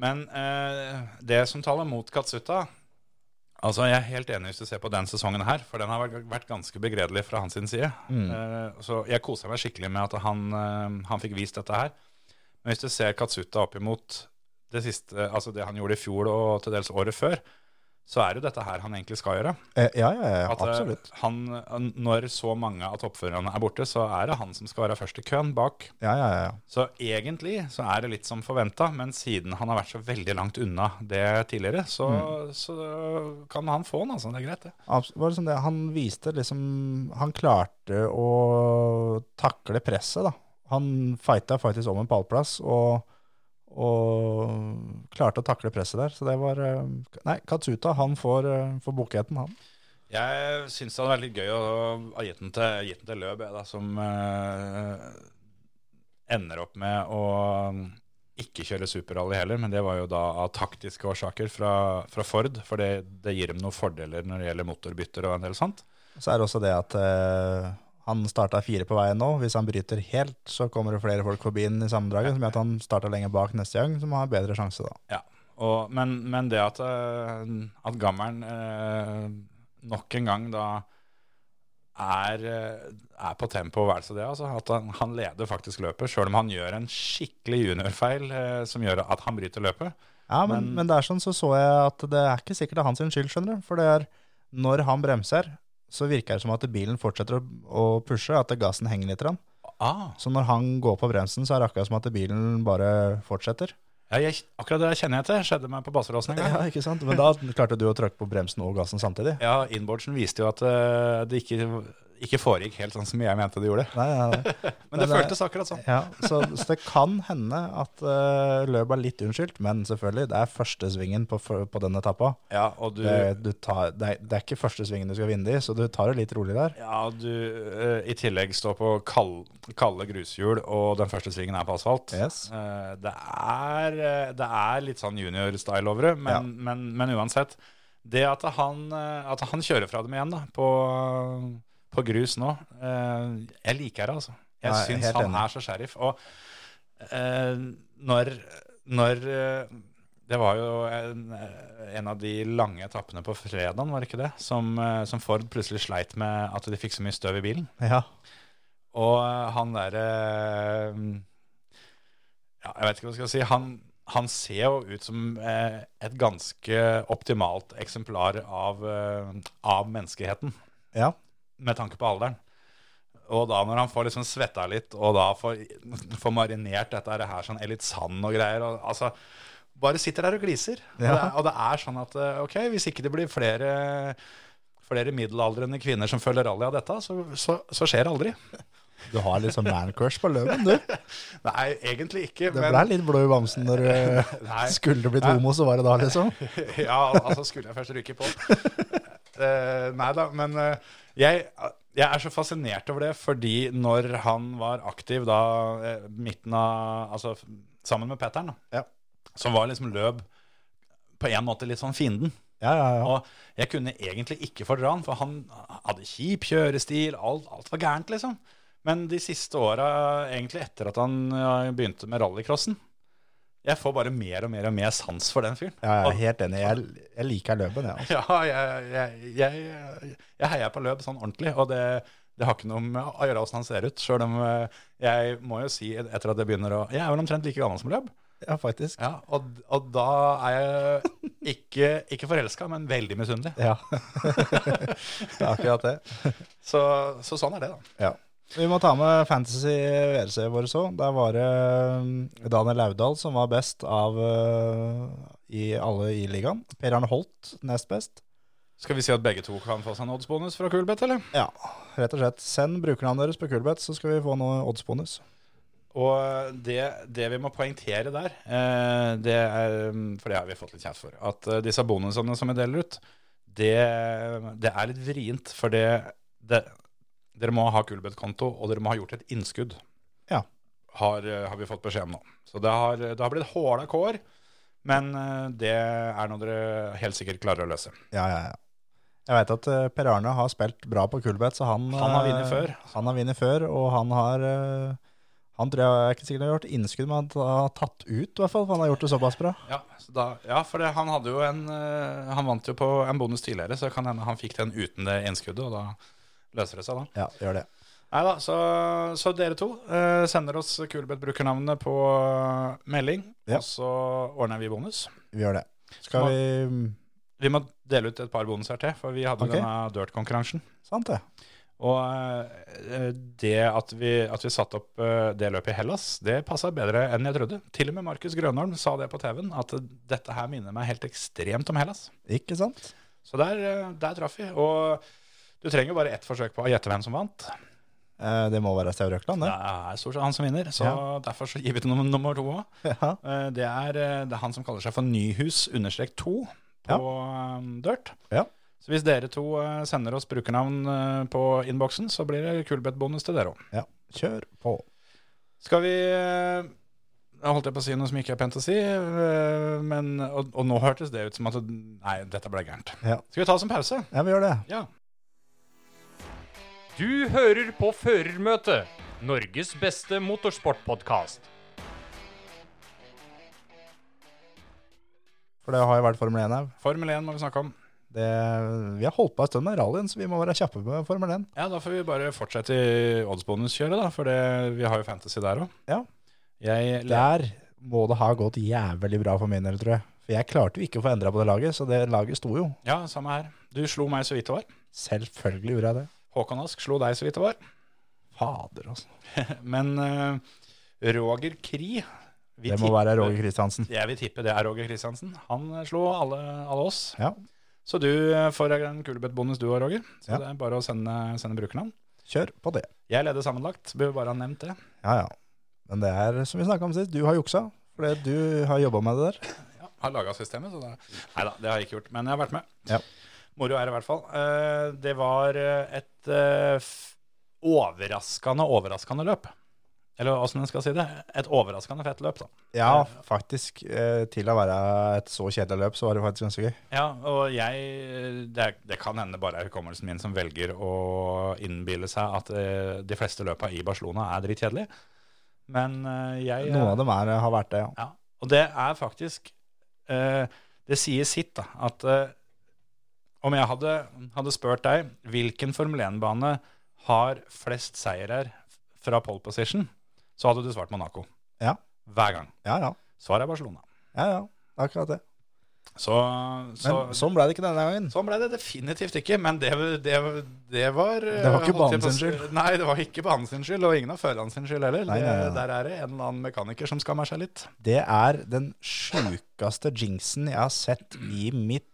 Speaker 4: Men eh, det som taler mot Katsuta Altså, Jeg er helt enig hvis du ser på den sesongen her, for den har vært- vært ganske begredelig fra hans sin side.
Speaker 5: Mm.
Speaker 4: Eh, så jeg koser meg skikkelig med at han, eh, han fikk vist dette her. Men hvis du ser Katsuta opp imot det siste, altså det han gjorde i fjor og til dels året før, så er det jo dette her han egentlig skal gjøre.
Speaker 5: Eh, ja, ja, ja,
Speaker 4: At eh,
Speaker 5: absolutt.
Speaker 4: han, når så mange av toppførerne er borte, så er det han som skal være først i køen bak.
Speaker 5: Ja, ja, ja.
Speaker 4: Så egentlig så er det litt som forventa, men siden han har vært så veldig langt unna det tidligere, så, så kan han få den, altså. Det er greit, det.
Speaker 5: Abs- var det sånn det, han viste liksom Han klarte å takle presset, da. Han fighta faktisk om en pallplass og, og klarte å takle presset der. Så det var eh, Nei, Katsuta, han får, eh, får buketten, han.
Speaker 4: Jeg syns det hadde vært litt gøy å ha gitt den til, gitt den til Løb, jeg, da, som eh, ender opp med å um, ikke kjøre superrally heller, men det var jo da av taktiske årsaker fra, fra Ford, for det, det gir dem noen fordeler når det gjelder motorbytter og en del sånt.
Speaker 5: Så er det også det at eh, han starta fire på veien nå. Hvis han bryter helt, så kommer det flere folk forbi den i sammendraget, som gjør at han starter lenger bak neste gang, som har bedre sjanse, da.
Speaker 4: Ja, og, men, men det at, eh, at gammelen eh, nok en gang da er, eh, er på tempo og værelse det, altså, at han, han leder faktisk løpet, selv om han gjør en skikkelig juniorfeil eh, som gjør at han bryter løpet.
Speaker 5: Ja, men, men, det er sånn så så jeg at det er ikke sikkert det er hans sin skyld, skjønner du. For det er når han bremser, så virker det som at bilen fortsetter å, å pushe, at gassen henger litt. grann.
Speaker 4: Ah,
Speaker 5: Så når han går på bremsen, så er det akkurat som at bilen bare fortsetter.
Speaker 4: ja, jeg, akkurat det kjenner jeg til, skjedde meg på Baseråsen en gang.
Speaker 5: Ja, ikke sant? Men da klarte du å trykke på bremsen og gassen samtidig.
Speaker 4: Ja, Inboardsen viste jo at eh, det ikke, ikke foregikk helt sånn som jeg mente det gjorde.
Speaker 5: Nei, nei, nei.
Speaker 4: Men det
Speaker 5: Men, eh,
Speaker 4: føltes akkurat sånn.
Speaker 5: Ja, så, så det kan hende at uh, løpet er litt unnskyldt, men selvfølgelig, det er første svingen på, på den etappa.
Speaker 4: Ja, og du...
Speaker 5: Det, du tar, det, er, det er ikke første svingen du skal vinne i, så du tar det litt rolig der.
Speaker 4: Ja, du eh, i tillegg står på kald, kalde grushjul, og den første svingen er på asfalt.
Speaker 5: Yes.
Speaker 4: Eh, det, er, eh, det er litt sånn junior-style over det, men,
Speaker 5: Ja.
Speaker 4: men, men uansett. Det at han, eh, at han kjører fra dem igjen da, på, på grus nå, eh, jeg liker det, altså. Jeg
Speaker 5: Nei,
Speaker 4: syns
Speaker 5: helt
Speaker 4: han
Speaker 5: enig.
Speaker 4: er så sheriff. Og eh, når, når eh, Det var jo en, eh, en av de lange etappene på fredagen, var det ikke det? Som, eh, som Ford plutselig sleit med at de fikk så mye støv i bilen.
Speaker 5: Ja.
Speaker 4: Og eh, han derre eh, ja, Jeg vet ikke hva jeg skal si. Han, han ser jo ut som eh, et ganske optimalt eksemplar av, eh, av menneskeheten
Speaker 5: ja.
Speaker 4: med tanke på alderen. Og da når han får liksom svetta litt, og da får, får marinert dette her sånn, er litt sand og greier og, altså, Bare sitter der og gliser. Og,
Speaker 5: Ja.
Speaker 4: det, er- og det er sånn at eh, ok, hvis ikke det blir flere, flere middelaldrende kvinner som følger rally av dette, så, så, så skjer det aldri.
Speaker 5: Du har litt sånn man-crush på løven, du.
Speaker 4: Nei, egentlig ikke.
Speaker 5: Det
Speaker 4: men-
Speaker 5: ble litt blod i bamsen når du
Speaker 4: Nei.
Speaker 5: skulle du blitt homo, så var det da, liksom.
Speaker 4: ja, altså skulle jeg først ryke på. Eh, nei da, men eh, jeg, jeg er så fascinert over det, fordi når han var aktiv da eh, midten av Altså f- sammen med Petter'n, da,
Speaker 5: Ja.
Speaker 4: så var liksom Løb på en måte litt sånn fienden.
Speaker 5: Ja, ja, ja.
Speaker 4: Og jeg kunne egentlig ikke fordra han, for han hadde kjip kjørestil, alt, alt var gærent, liksom. Men de siste åra, egentlig etter at han ja, begynte med rallycrossen Jeg får bare mer og mer og mer sans for den fyren.
Speaker 5: Ja, jeg
Speaker 4: Og-
Speaker 5: er helt enig. Jeg, jeg liker løven, jeg. Altså.
Speaker 4: ja, jeg, jeg, jeg, jeg heier på løp sånn ordentlig, og det, det har ikke noe med å gjøre hvordan han ser ut. Selv om eh, jeg må jo si, etter at jeg begynner å Jeg er vel omtrent like gammel som løp.
Speaker 5: Ja, faktisk.
Speaker 4: Ja, og, og da er jeg ikke, ikke forelska, men veldig misunnelig.
Speaker 5: Ja. det er akkurat det.
Speaker 4: Så, så sånn er det, da.
Speaker 5: Ja. Vi må ta med Fantasy VRC vår så. Der var det eh, Daniel Laudal som var best av eh, i alle i ligaen. Per Arne Holt nest best.
Speaker 4: Skal vi si at begge to kan få seg en oddsbonus fra Kulbeth, eller?
Speaker 5: Ja, rett og slett. Send brukernavnet deres på Kulbeth, så skal vi få noe oddsbonus.
Speaker 4: Og det, det vi må poengtere der, eh, det er, for det har vi fått litt kjeft for, at eh, disse bonusene som vi deler ut, det, det er litt vrient. For det, det, dere må ha Kulbeth-konto, og dere må ha gjort et innskudd.
Speaker 5: Ja.
Speaker 4: Har, eh, har vi fått beskjed om nå. Så det har, det har blitt håla kår, men eh, det er noe dere helt sikkert klarer å løse.
Speaker 5: Ja, ja, ja. Jeg veit at eh, Per Arne har spilt bra på Kulbeth, så han
Speaker 4: Han har
Speaker 5: eh,
Speaker 4: vunnet før.
Speaker 5: Han har vunnet før, og han har eh, Han tror jeg, jeg er ikke sikkert han har gjort innskudd, men han har tatt ut, i hvert fall. For han har gjort det såpass bra.
Speaker 4: Ja, så da, ja for det, han hadde jo en eh, Han vant jo på en bonus tidligere, så kan hende han fikk den uten det innskuddet, og da løser det seg, da.
Speaker 5: Ja, gjør det.
Speaker 4: Nei da, så, så dere to eh, sender oss Kulebeth-brukernavnet på eh, melding,
Speaker 5: Ja.
Speaker 4: og så ordner vi bonus.
Speaker 5: Vi gjør det. Skal vi mm,
Speaker 4: Vi må dele ut et par bonuser til, for vi hadde
Speaker 5: Ok.
Speaker 4: denne dirt-konkurransen.
Speaker 5: Sant, det.
Speaker 4: Og eh, det at vi, at vi satte opp eh, det løpet i Hellas, det passa bedre enn jeg trodde. Til og med Markus Grønholm sa det på TV-en, at dette her minner meg helt ekstremt om Hellas.
Speaker 5: Ikke sant?
Speaker 4: Så der, eh, der traff vi. Og du trenger jo bare ett forsøk på å gjette hvem som vant.
Speaker 5: Eh, det må være Sau Røkland,
Speaker 4: Det
Speaker 5: det.
Speaker 4: er stort sett han som vinner, så
Speaker 5: Ja.
Speaker 4: derfor så gir vi til nummer, nummer to òg.
Speaker 5: Ja.
Speaker 4: Det er, eh, det er han som kaller seg for Nyhus understrek 2 på
Speaker 5: Ja.
Speaker 4: eh, Dirt.
Speaker 5: Ja.
Speaker 4: Så hvis dere to eh, sender oss brukernavn eh, på innboksen, så blir det Kulbeth-bonus til dere òg.
Speaker 5: ja. Kjør på.
Speaker 4: Skal vi eh, Jeg holdt jeg på å si noe som ikke er pent å si, eh, men, og, og nå hørtes det ut som at Nei, dette ble gærent.
Speaker 5: Ja.
Speaker 4: Skal vi ta oss en pause?
Speaker 5: ja, vi gjør det.
Speaker 4: Ja.
Speaker 6: Du hører på Førermøtet, Norges beste motorsportpodkast.
Speaker 5: For det har jo vært Formel 1 her.
Speaker 4: Formel 1 må vi snakke om.
Speaker 5: Det, vi har holdt på en stund med rallyen, så vi må være kjappe med Formel 1.
Speaker 4: Ja, da får vi bare fortsette i oddsbonuskjøret, da, for det, vi har jo fantasy der òg.
Speaker 5: Ja.
Speaker 4: Jeg le-
Speaker 5: Der må det ha gått jævlig bra for min del, tror jeg. For jeg klarte jo ikke å få endra på det laget, så det laget sto jo.
Speaker 4: ja, samme her. Du slo meg så vidt det var.
Speaker 5: Selvfølgelig gjorde jeg det.
Speaker 4: Håkon Ask slo deg så vidt det var.
Speaker 5: Fader, altså.
Speaker 4: Men eh, Roger Kri vi
Speaker 5: Det må
Speaker 4: tipper-
Speaker 5: være Roger Kristiansen.
Speaker 4: Jeg vil tippe det er Roger Kristiansen. Han eh, slo alle, alle oss.
Speaker 5: Ja,
Speaker 4: Så du eh, får en kulebøttbonus du og Roger. Så
Speaker 5: Ja.
Speaker 4: det er bare å sende, sende brukernavn.
Speaker 5: kjør på det.
Speaker 4: Jeg leder sammenlagt, bør bare ha nevnt det.
Speaker 5: Ja, ja. Men det er som vi snakka om sist, du har juksa. Fordi du har jobba med det der.
Speaker 4: Ja, har laga systemet, så det Nei da, det har jeg ikke gjort, men jeg har vært med.
Speaker 5: Ja.
Speaker 4: Moro er det i hvert fall. Eh, Det var eh, et eh, f- overraskende, overraskende løp. Eller åssen en skal si det. Et overraskende fett løp, da.
Speaker 5: Ja, faktisk. eh, Til å være et så kjedelig løp, så var det faktisk ganske gøy.
Speaker 4: Ja, og jeg eh, Det, er- det kan hende bare er hukommelsen min som velger å innbille seg at eh, de fleste løpa i Barcelona er drittkjedelige. Men eh, jeg eh,
Speaker 5: Noen av dem er, har vært det, ja.
Speaker 4: Ja, og det er faktisk eh, Det sier sitt, da. At eh, om jeg hadde, hadde spurt deg hvilken Formel 1-bane har flest seirer fra pole position, så hadde du svart Monaco.
Speaker 5: Ja.
Speaker 4: Hver gang.
Speaker 5: Ja, ja.
Speaker 4: Svar er Barcelona.
Speaker 5: ja, ja. Akkurat det.
Speaker 4: Så, så
Speaker 5: Men sånn ble det ikke denne gangen.
Speaker 4: Sånn ble det definitivt ikke, men det, det, det var
Speaker 5: Det var
Speaker 4: holdt
Speaker 5: ikke
Speaker 4: jeg på å
Speaker 5: banen sin
Speaker 4: si- Nei, det var ikke banen sin skyld, og ingen av førerne sin skyld heller.
Speaker 5: Nei, nei, nei.
Speaker 4: Det- Der er det en eller annen mekaniker som skammer seg litt.
Speaker 5: Det er den sjukeste jinxen jeg har sett i mitt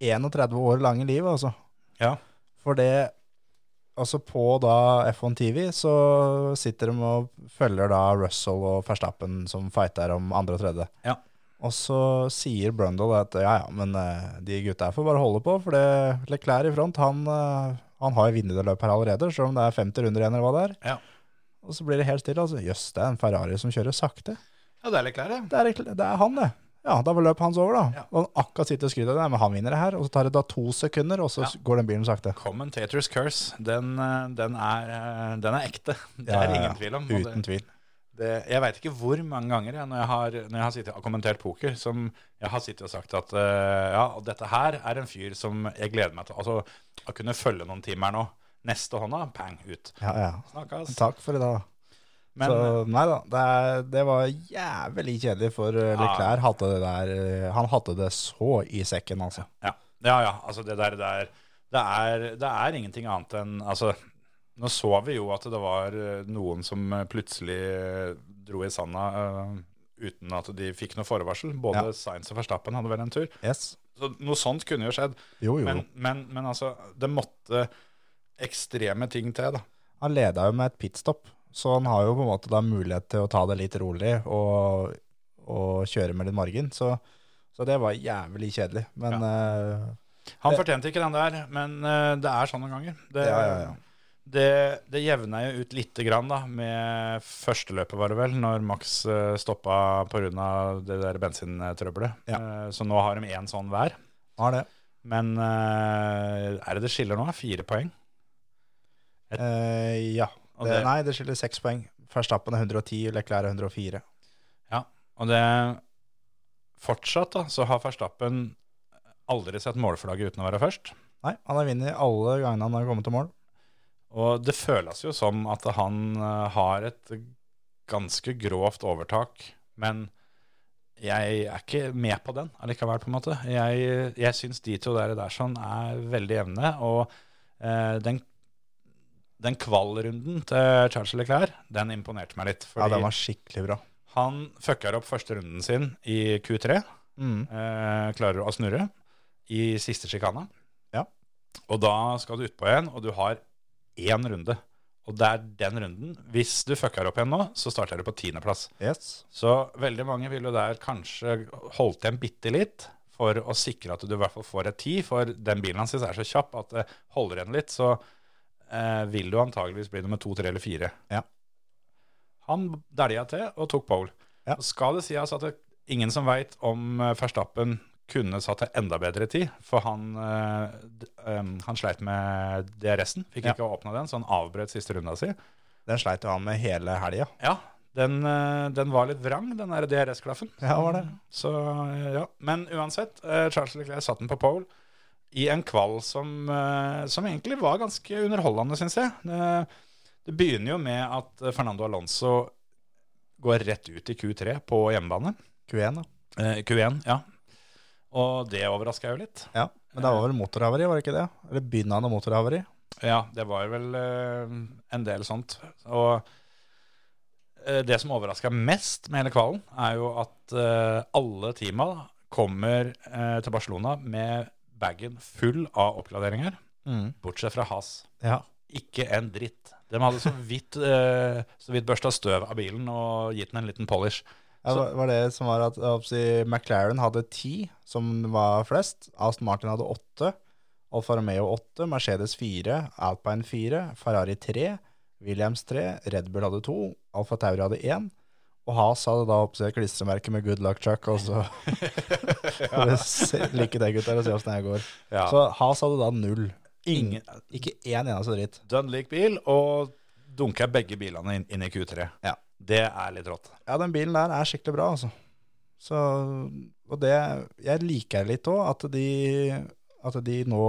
Speaker 5: 31 år lange liv, altså.
Speaker 4: Ja.
Speaker 5: For det Altså på da F1 TV så sitter de og følger da Russell og Verstappen som fighter om andre og tredje.
Speaker 4: Ja.
Speaker 5: Og så sier Brundle at ja, ja, men eh, de gutta her får bare holde på, for det Leclerc i front, han, eh, han har jo vunnet det løpet her allerede, selv om det er 50 runder igjen eller hva det er.
Speaker 4: Ja.
Speaker 5: Og så blir det helt stille. altså, Jøss, det er en Ferrari som kjører sakte.
Speaker 4: Ja, det er litt klær, det.
Speaker 5: Det er, Leclerc- det er han, det. Ja, da var løpet hans over, da.
Speaker 4: Ja.
Speaker 5: Og han akkurat sitter og skryter av det, men han vinner det her. Og så tar det da to sekunder, og så
Speaker 4: Ja.
Speaker 5: s- går den bilen sakte.
Speaker 4: Commentator's curse, den, eh, den, er, eh, den er ekte. Det
Speaker 5: Ja,
Speaker 4: er
Speaker 5: ja, ja.
Speaker 4: ingen tvil om. og
Speaker 5: Uten
Speaker 4: det,
Speaker 5: tvil.
Speaker 4: det, jeg veit ikke hvor mange ganger jeg, når jeg har, når jeg har sittet, og kommentert poker, som jeg har sittet og sagt at eh, ja, og dette her er en fyr som jeg gleder meg til Altså, å kunne følge noen timer nå. Neste hånda, pang, ut.
Speaker 5: Ja, ja.
Speaker 4: Snakkes.
Speaker 5: Takk for i dag.
Speaker 4: Men,
Speaker 5: så nei da, det, er, det var jævlig kjedelig for eh, Leclerc. Hadde det der, eh, han hadde det så i sekken, altså.
Speaker 4: Ja, ja, ja altså det der, det er, det, er, det er ingenting annet enn altså, Nå så vi jo at det var eh, noen som eh, plutselig eh, dro i sanda eh, uten at de fikk noe forvarsel. Både
Speaker 5: Ja.
Speaker 4: Sainz og Verstappen hadde vel en tur.
Speaker 5: Yes.
Speaker 4: Så noe sånt kunne jo skjedd.
Speaker 5: Jo, jo.
Speaker 4: Men, men, men altså, det måtte ekstreme ting til, da.
Speaker 5: Han leda jo med et pitstop, så han har jo på en måte da mulighet til å ta det litt rolig og, og kjøre med litt margin. Så, så det var jævlig kjedelig. Men eh,
Speaker 4: Han
Speaker 5: Det-
Speaker 4: fortjente ikke den der, men eh, det er sånn noen ganger. Det,
Speaker 5: Ja, ja, ja.
Speaker 4: det, det jevna jo ut lite grann da, med første løpet, var det vel, når Max eh, stoppa pga. det der bensintrøbbelet. Eh, Så nå har de én sånn hver.
Speaker 5: han har det.
Speaker 4: Men eh, er det det skiller nå? Fire poeng?
Speaker 5: Eh, ja.
Speaker 4: Og
Speaker 5: Det,
Speaker 4: det-
Speaker 5: nei, det skiller seks poeng. Verstappen er 110, Leclerc er 104.
Speaker 4: Ja, og det Fortsatt da, så har Verstappen aldri sett målflagget uten å være først.
Speaker 5: Nei, han har vunnet alle gangene han har kommet til mål.
Speaker 4: Og det føles jo som at han eh, har et ganske grovt overtak, men jeg er ikke med på den allikevel, på en måte. Jeg, jeg syns de to der, der sånn er veldig jevne, og eh, den, den kvalrunden til Charles Leclerc, den imponerte meg litt.
Speaker 5: Ja,
Speaker 4: Fordi
Speaker 5: den var skikkelig bra.
Speaker 4: han fucker opp første runden sin i Q3
Speaker 5: Mm.
Speaker 4: eh, klarer å snurre i siste sjikana.
Speaker 5: Ja.
Speaker 4: Og da skal du utpå igjen, og du har én runde. Og det er den runden. Hvis du fucker opp igjen nå, så starter du på tiendeplass.
Speaker 5: Yes.
Speaker 4: Så veldig mange vil jo der kanskje holdt igjen bitte litt for å sikre at du i hvert fall får et ti, for den bilen hans er så kjapp at det holder igjen litt, så eh, vil du antageligvis bli nummer to, tre eller fire.
Speaker 5: Ja.
Speaker 4: Han dælja til og tok pole.
Speaker 5: Ja.
Speaker 4: Og Skal det sies at det, ingen som veit om eh, Verstappen kunne satt til enda bedre tid, for han, eh, d- em, han sleit med DRS-en, fikk
Speaker 5: Ja.
Speaker 4: ikke åpna den, så han avbrøt siste runda si.
Speaker 5: Den sleit jo han med hele helga.
Speaker 4: Ja, den, eh, den var litt vrang, den der DRS-klaffen.
Speaker 5: Ja, var det.
Speaker 4: Så, eh, ja. Men uansett, eh, Charles Leclerc satt den på pole i en kvall som, eh, som egentlig var ganske underholdende, syns jeg. Det, det begynner jo med at eh, Fernando Alonso går rett ut i Q3 på hjemmebane.
Speaker 5: Q1, da.
Speaker 4: Eh, Q1, ja. Og det overraska jo litt.
Speaker 5: Ja. Men det var vel motorhavari, var det ikke det? Eller begynnende motorhavari?
Speaker 4: Ja, det var vel eh, en del sånt. Og eh, det som overraska mest med hele kvalen, er jo at eh, alle teama kommer eh, til Barcelona med bagen full av oppgraderinger,
Speaker 5: Mm.
Speaker 4: bortsett fra Has.
Speaker 5: Ja.
Speaker 4: Ikke en dritt. De hadde så vidt, eh, så vidt børsta støv av bilen og gitt den en liten polish.
Speaker 5: Ja, Det var det som var at jeg håper å si, McLaren hadde ti, som var flest. Aston Martin hadde åtte. Alfa Romeo åtte, Mercedes fire, Alpine fire, Ferrari tre, Williams 3, Red Bull hadde 2, Alfa Tauri hadde 1, og Haas hadde da oppsett klistremerket med 'Good luck, Chuck', og så Lykke til, gutter, og se åssen det her går.
Speaker 4: Ja.
Speaker 5: Så Haas hadde da null.
Speaker 4: Ingen-
Speaker 5: Ikke én eneste dritt.
Speaker 4: Dunleak-bil, og dunker begge bilene inn, inn i Q3.
Speaker 5: Ja.
Speaker 4: Det er litt rått.
Speaker 5: Ja, den bilen der er skikkelig bra, altså. Så, og det, jeg liker litt òg at, de- at de nå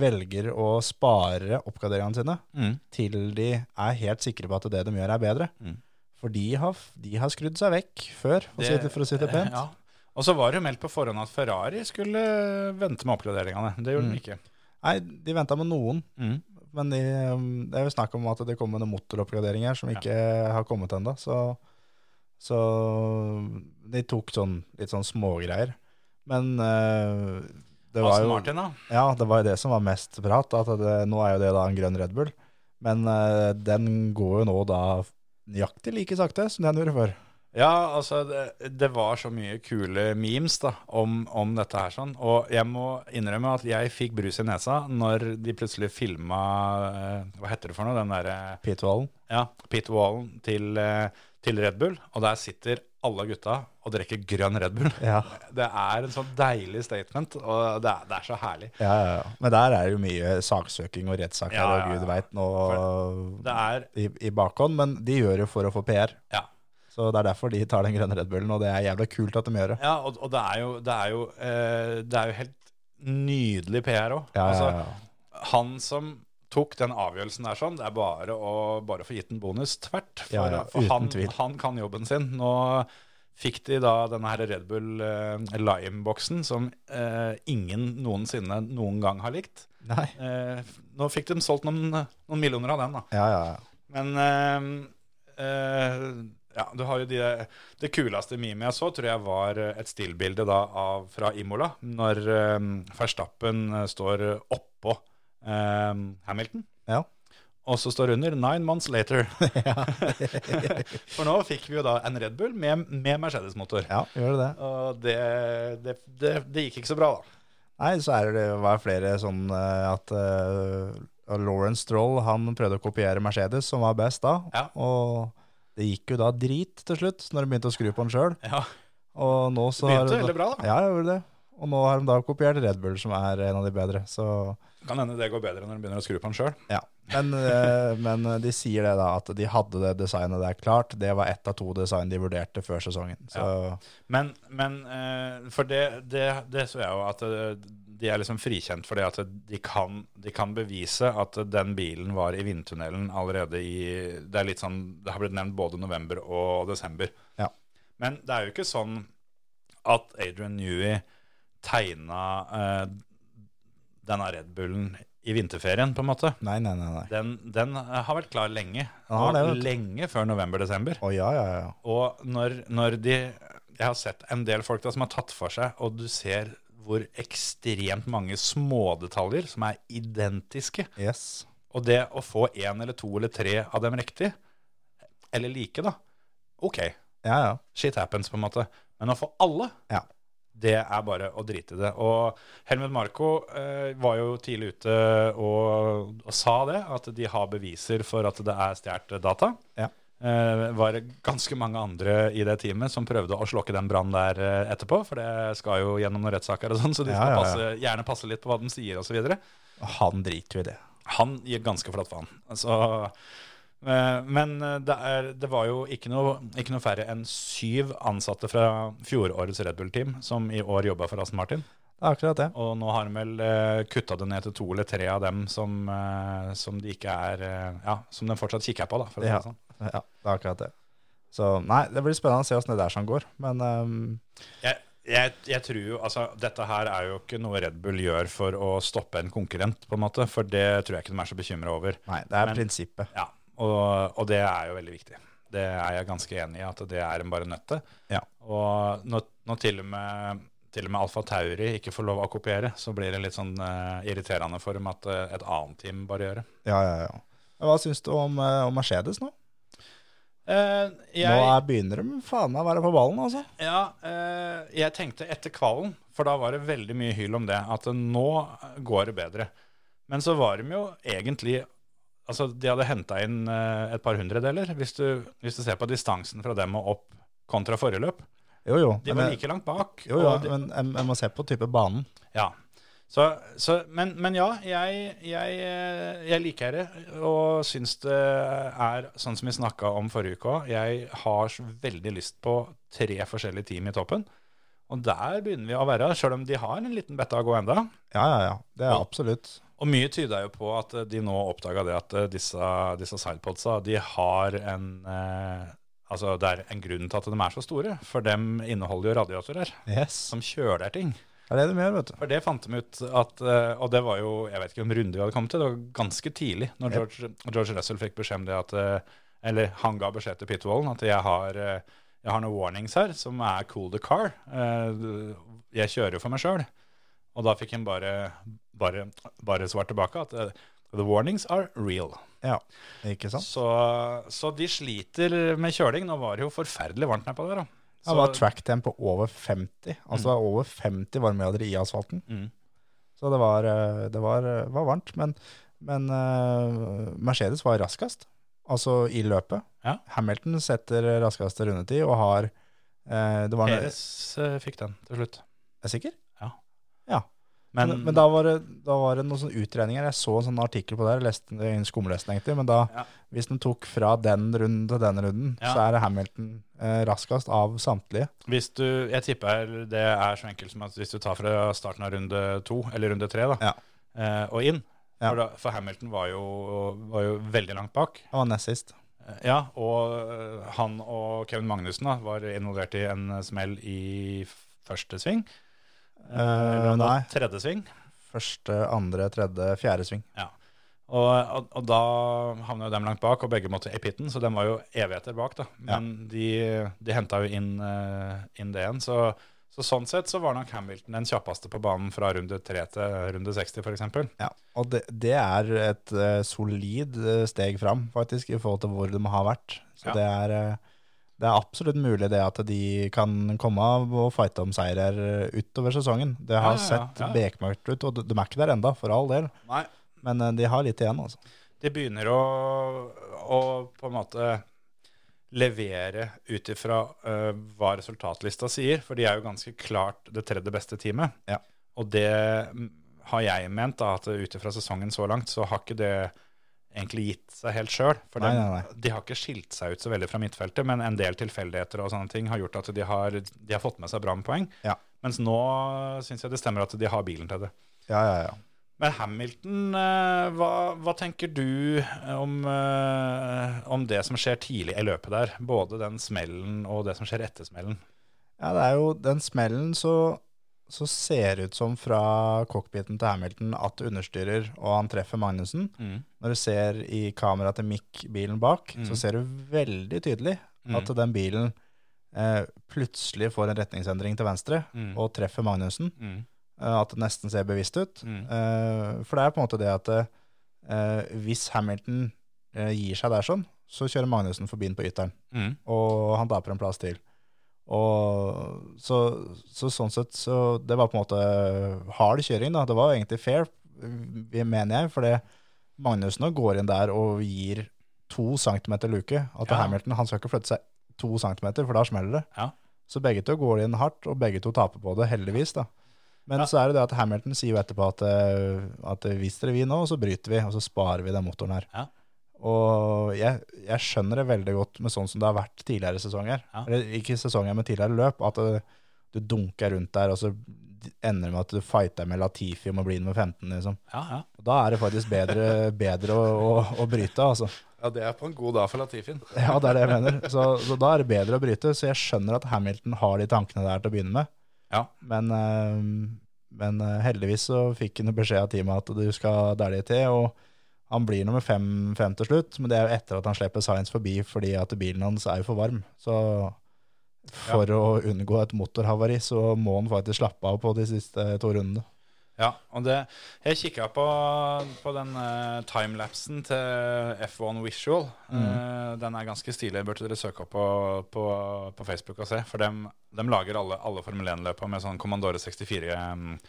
Speaker 5: velger å spare oppgraderingene sine til de er helt sikre på at det de gjør er bedre.
Speaker 4: Mm.
Speaker 5: For de har, de har skrudd seg vekk før, for, å, si det, for å si det pent.
Speaker 4: Ja. Og så var det jo meldt på forhånd at Ferrari skulle eh, vente med oppgraderingene. Det gjorde
Speaker 5: Mm.
Speaker 4: de ikke.
Speaker 5: Nei, de venta med noen,
Speaker 4: Mm.
Speaker 5: men de, um, det er jo snakk om at det kommer noen motoroppgraderinger som
Speaker 4: Ja.
Speaker 5: ikke har kommet ennå. Så, så um, de tok sånn, litt sånn smågreier. Men eh, det var
Speaker 4: Aston
Speaker 5: jo
Speaker 4: Martin, da.
Speaker 5: Ja, det var jo det som var mest prat. At det, nå er jo det da en grønn Red Bull. Men eh, den går jo nå da nøyaktig like sakte som den gjorde før.
Speaker 4: Ja, altså, det, det var så mye kule memes da, om, om dette her sånn. Og jeg må innrømme at jeg fikk brus i nesa når de plutselig filma eh, Hva heter det for noe? Den eh, derre
Speaker 5: Pitwallen.
Speaker 4: ja, pit wallen til, eh, til Red Bull. Og der sitter alle gutta og drikker grønn Red Bull.
Speaker 5: Ja.
Speaker 4: Det er en sånn deilig statement, og det er, det er så herlig.
Speaker 5: Ja, ja, ja. Men der er det jo mye saksøking og rettssaker
Speaker 4: Ja, ja, ja.
Speaker 5: og gud veit nå
Speaker 4: Det er,
Speaker 5: i, i bakhånd. Men de gjør jo for å få PR.
Speaker 4: ja.
Speaker 5: Så det er derfor de tar den grønne Red Bullen, og det er jævla kult at de gjør det.
Speaker 4: Ja, og, og det er jo Det er jo, eh, det er jo helt nydelig PR òg.
Speaker 5: Ja, ja, ja.
Speaker 4: Altså, han som tok den avgjørelsen der sånn, det er bare å bare få gitt en bonus tvert. For,
Speaker 5: Ja, ja,
Speaker 4: for
Speaker 5: uten
Speaker 4: han,
Speaker 5: tvil.
Speaker 4: han kan jobben sin. Nå fikk de da denne her Red Bull eh, Lime-boksen som eh, ingen noensinne noen gang har likt.
Speaker 5: Nei.
Speaker 4: Eh, nå fikk de solgt noen, noen millioner av den, da.
Speaker 5: Ja, ja, ja.
Speaker 4: Men eh, eh, ja, du har jo de, det kuleste memet jeg så, tror jeg var et stillbilde da av, fra Imola, når eh, Verstappen eh, står oppå eh, Hamilton.
Speaker 5: Ja.
Speaker 4: Og så står det under 'Nine months later'. For nå fikk vi jo da en Red Bull med, med Mercedes-motor.
Speaker 5: ja gjør det det.
Speaker 4: Og det, det, det, det gikk ikke så bra, da.
Speaker 5: Nei, så er det var flere sånn eh, at eh, Lawrence Stroll han prøvde å kopiere Mercedes, som var best da.
Speaker 4: Ja.
Speaker 5: Og det gikk jo da drit til slutt, når de begynte å skru på den sjøl.
Speaker 4: Ja.
Speaker 5: Og nå så
Speaker 4: Det
Speaker 5: har
Speaker 4: begynte
Speaker 5: de
Speaker 4: veldig bra, da.
Speaker 5: Ja, det gjorde det. Og nå har de da kopiert Red Bull, som er en av de bedre. Så
Speaker 4: Kan hende det går bedre når de begynner å skru på den sjøl.
Speaker 5: ja. Men, eh, men de sier det, da, at de hadde det designet der klart. Det var ett av to design de vurderte før sesongen. Så
Speaker 4: Men, men eh, for det, det, det så jeg jo at eh, de er liksom frikjent for det at de kan, de kan bevise at den bilen var i vindtunnelen allerede i Det er litt sånn, det har blitt nevnt både november og desember.
Speaker 5: Ja.
Speaker 4: Men det er jo ikke sånn at Adrian Newey tegna eh, denne Red Bullen i vinterferien, på en måte.
Speaker 5: nei, nei, nei. nei.
Speaker 4: Den, den eh, har vært klar lenge.
Speaker 5: Ja, det
Speaker 4: og
Speaker 5: vet du.
Speaker 4: lenge før november-desember.
Speaker 5: Å ja, ja, ja.
Speaker 4: Og når, når de Jeg har sett en del folk da som har tatt for seg, og du ser hvor ekstremt mange smådetaljer som er identiske.
Speaker 5: Yes.
Speaker 4: Og det å få én eller to eller tre av dem riktig, eller like, da OK,
Speaker 5: Ja, ja.
Speaker 4: shit happens, på en måte. Men å få alle,
Speaker 5: Ja.
Speaker 4: det er bare å drite i det. Og Helmut Marko eh, var jo tidlig ute og, og sa det, at de har beviser for at det er stjålet data.
Speaker 5: Ja.
Speaker 4: Eh, var ganske mange andre i det teamet som prøvde å slokke den brannen der eh, etterpå, for det skal jo gjennom noen rettssaker og sånn, så de
Speaker 5: Ja,
Speaker 4: skal
Speaker 5: ja, ja.
Speaker 4: Passe, gjerne passe litt på hva de sier osv.
Speaker 5: Han driter jo i det.
Speaker 4: Han gir ganske flatt faen. Altså, eh, men det, er, det var jo ikke noe, ikke noe færre enn syv ansatte fra fjorårets Red Bull-team som i år jobba for Aston Martin.
Speaker 5: Det er akkurat det.
Speaker 4: Og nå har de vel eh, kutta det ned til to eller tre av dem som, eh, som de ikke er eh, Ja, som de fortsatt kikker på, da. For å si
Speaker 5: Ja.
Speaker 4: det sånn.
Speaker 5: Ja, det er akkurat det. Så nei, det blir spennende å se åssen det der som går. Men ehm,
Speaker 4: Jeg, jeg, jeg tror jo, altså Dette her er jo ikke noe Red Bull gjør for å stoppe en konkurrent, på en måte. For det tror jeg ikke de er så bekymra over.
Speaker 5: nei, det er
Speaker 4: Men-
Speaker 5: prinsippet.
Speaker 4: Ja, og, og det er jo veldig viktig. Det er jeg ganske enig i, at det er en bare nøtte.
Speaker 5: Ja.
Speaker 4: Og når, når til og med, til og med Alfa Tauri ikke får lov å kopiere, så blir det litt sånn eh, irriterende for dem at eh, et annet team bare gjør det.
Speaker 5: Ja, ja, ja. Hva syns du om, eh, om Mercedes nå?
Speaker 4: Eh, jeg,
Speaker 5: Nå er, begynner de faen meg å være på ballen, altså.
Speaker 4: ja, eh, jeg tenkte etter kvalen, for da var det veldig mye hyl om det, at nå går det bedre. Men så var de jo egentlig Altså, de hadde henta inn eh, et par hundredeler, hvis du, hvis du ser på distansen fra dem og opp kontra forrige løp.
Speaker 5: Jo, jo.
Speaker 4: De
Speaker 5: men
Speaker 4: var
Speaker 5: jeg-
Speaker 4: like langt bak.
Speaker 5: jo, jo
Speaker 4: og de-
Speaker 5: men jeg, jeg må se på type banen.
Speaker 4: Ja. Så, så, men, men ja, jeg, jeg, eh, jeg liker det, og syns det er sånn som vi snakka om forrige uke òg. Jeg har så veldig lyst på tre forskjellige team i toppen. Og der begynner vi å være, sjøl om de har en liten betta å gå enda.
Speaker 5: Ja, ja, ja. Det er
Speaker 4: Ja.
Speaker 5: absolutt.
Speaker 4: Og mye tyder jo på at eh, de nå oppdaga det at eh, disse, disse sidepodsa, de har en eh, Altså, det er en grunn til at de er så store, for dem inneholder jo radiatorer
Speaker 5: Yes.
Speaker 4: som kjøler ting.
Speaker 5: Det er det de gjør, vet du.
Speaker 4: For det fant de ut at eh, Og det var jo, jeg vet ikke om runde vi hadde kommet til, det var ganske tidlig når George, George Russell fikk beskjed om det at eh, Eller han ga beskjed til Pete Wallen at jeg har, eh, jeg har noen warnings her som er cool the car. Eh, Jeg kjører jo for meg sjøl. Og da fikk han bare, bare, bare svart tilbake at eh, the warnings are real.
Speaker 5: Ja, ikke sant?
Speaker 4: Så, så de sliter med kjøling. Nå var det jo forferdelig varmt nedpå der. Da.
Speaker 5: Det var tracktempo over 50. Altså det var over 50 varmegrader i asfalten.
Speaker 4: Mm.
Speaker 5: Så det var, eh, det var, eh, var varmt. Men, men eh, Mercedes var raskest, altså i løpet.
Speaker 4: Ja.
Speaker 5: Hamilton setter raskeste rundetid og har eh, det var
Speaker 4: Perez eh, fikk den til slutt.
Speaker 5: Er du sikker?
Speaker 4: Ja.
Speaker 5: Ja. Men, men, da, var det, da var det noen sånne utregninger. Jeg så en sånn artikkel på det, her, jeg leste det i en skumlesning egentlig, men da,
Speaker 4: Ja.
Speaker 5: hvis den tok fra den runden til den runden,
Speaker 4: Ja.
Speaker 5: så er det Hamilton eh, raskest av samtlige.
Speaker 4: Hvis du, jeg tipper det er så enkelt som at hvis du tar fra starten av runde to, eller runde tre, da,
Speaker 5: Ja.
Speaker 4: eh, og inn
Speaker 5: Ja.
Speaker 4: for, da, for Hamilton var jo, var jo veldig langt bak.
Speaker 5: Han var nest sist.
Speaker 4: Eh, Ja, og eh, han og Kevin Magnussen da, var involvert i en eh, smell i f- første sving. Eh, eller om det var
Speaker 5: nei.
Speaker 4: Tredje sving.
Speaker 5: Første, andre, tredje, fjerde sving.
Speaker 4: Og, og, og da havna jo dem langt bak, og begge måtte i pitten, så dem var jo evigheter bak. da. Men de, de henta jo inn, eh, inn det igjen. Så, så sånn sett så var nok Hamilton den kjappeste på banen fra runde 3 til runde 60 f.eks.
Speaker 5: Ja. Og det, det er et eh, solid eh, steg fram, faktisk, i forhold til hvor de har vært. Så
Speaker 4: Ja.
Speaker 5: det, er, eh, det er absolutt mulig det at de kan komme av og fighte om seirer eh, utover sesongen. Det
Speaker 4: Ja,
Speaker 5: har
Speaker 4: ja, ja.
Speaker 5: sett
Speaker 4: Ja, ja.
Speaker 5: bekmørkt ut, og de, de er ikke der enda, for all del.
Speaker 4: Nei.
Speaker 5: Men eh, de har litt igjen, altså.
Speaker 4: De begynner å, å på en måte levere ut ifra eh, hva resultatlista sier, for de er jo ganske klart det tredje beste teamet.
Speaker 5: Ja.
Speaker 4: Og det mm, har jeg ment, da, at ut ifra sesongen så langt, så har ikke det egentlig gitt seg helt sjøl. For
Speaker 5: Nei,
Speaker 4: dem-
Speaker 5: nei,
Speaker 4: de har ikke skilt seg ut så veldig fra midtfeltet, men en del tilfeldigheter og sånne ting har gjort at de har, de har fått med seg bra med poeng.
Speaker 5: Ja.
Speaker 4: Mens nå eh, syns jeg det stemmer at de har bilen til det.
Speaker 5: Ja, ja, ja.
Speaker 4: Men Hamilton, eh, hva, hva tenker du om, eh, om det som skjer tidlig i løpet der? Både den smellen og det som skjer etter smellen.
Speaker 5: Ja, det er jo den smellen så, så ser det ut som fra cockpiten til Hamilton at det understyrer, og han treffer Magnussen. Når du ser i kameraet til Mick bilen bak,
Speaker 4: Mm.
Speaker 5: så ser du veldig tydelig at den bilen eh, plutselig får en retningsendring til venstre
Speaker 4: Mm.
Speaker 5: og treffer Magnussen.
Speaker 4: Mm.
Speaker 5: Eh, at det nesten ser bevisst ut.
Speaker 4: Mm.
Speaker 5: Eh, for det er på en måte det at eh, hvis Hamilton eh, gir seg der sånn, så kjører Magnussen forbi den på ytteren,
Speaker 4: Mm.
Speaker 5: og han taper en plass til. Og så, så sånn sett, så det var på en måte hard kjøring da, det var jo egentlig fair, vi- mener jeg, for det Magnussen nå går inn der og gir to centimeter luke, at
Speaker 4: Ja.
Speaker 5: Hamilton han skal ikke flytte seg to centimeter, for da smeller det.
Speaker 4: Ja.
Speaker 5: Så begge to går inn hardt, og begge to taper på det, heldigvis da. Men
Speaker 4: Ja.
Speaker 5: så er det det at Hamilton sier jo etterpå at, eh, at hvis dere vil nå, så bryter vi, og så sparer vi den motoren her.
Speaker 4: Ja.
Speaker 5: Og jeg, jeg skjønner det veldig godt med sånn som det har vært tidligere sesonger.
Speaker 4: Ja.
Speaker 5: Eller ikke sesonger, men tidligere løp. At eh, du dunker rundt der, og så ender det med at du fighter med Latifi om å bli nummer 15, liksom.
Speaker 4: Ja, ja.
Speaker 5: Og Da er det faktisk bedre, bedre å, å, å bryte, altså.
Speaker 4: ja, det er på en god dag for Latifin.
Speaker 5: Ja, det er det jeg mener. Så, så da er det bedre å bryte. Så jeg skjønner at Hamilton har de tankene der til å begynne med.
Speaker 4: Ja.
Speaker 5: Men, eh, men eh, heldigvis så fikk han beskjed av teamet at du skal der de er til, og han blir nummer fem, fem til slutt, men det er jo etter at han slipper Science forbi fordi at bilen hans er jo for varm. Så for å unngå et motorhavari, så må han faktisk slappe av på de siste to rundene.
Speaker 4: Ja, og det, jeg kikka på, på den eh, timelapsen til F1 Visual. Eh, den er ganske stilig. Burde dere søke opp på, på, på Facebook og se. For dem, dem lager alle, alle Formel 1-løpa med sånn Commandore 64-bilder.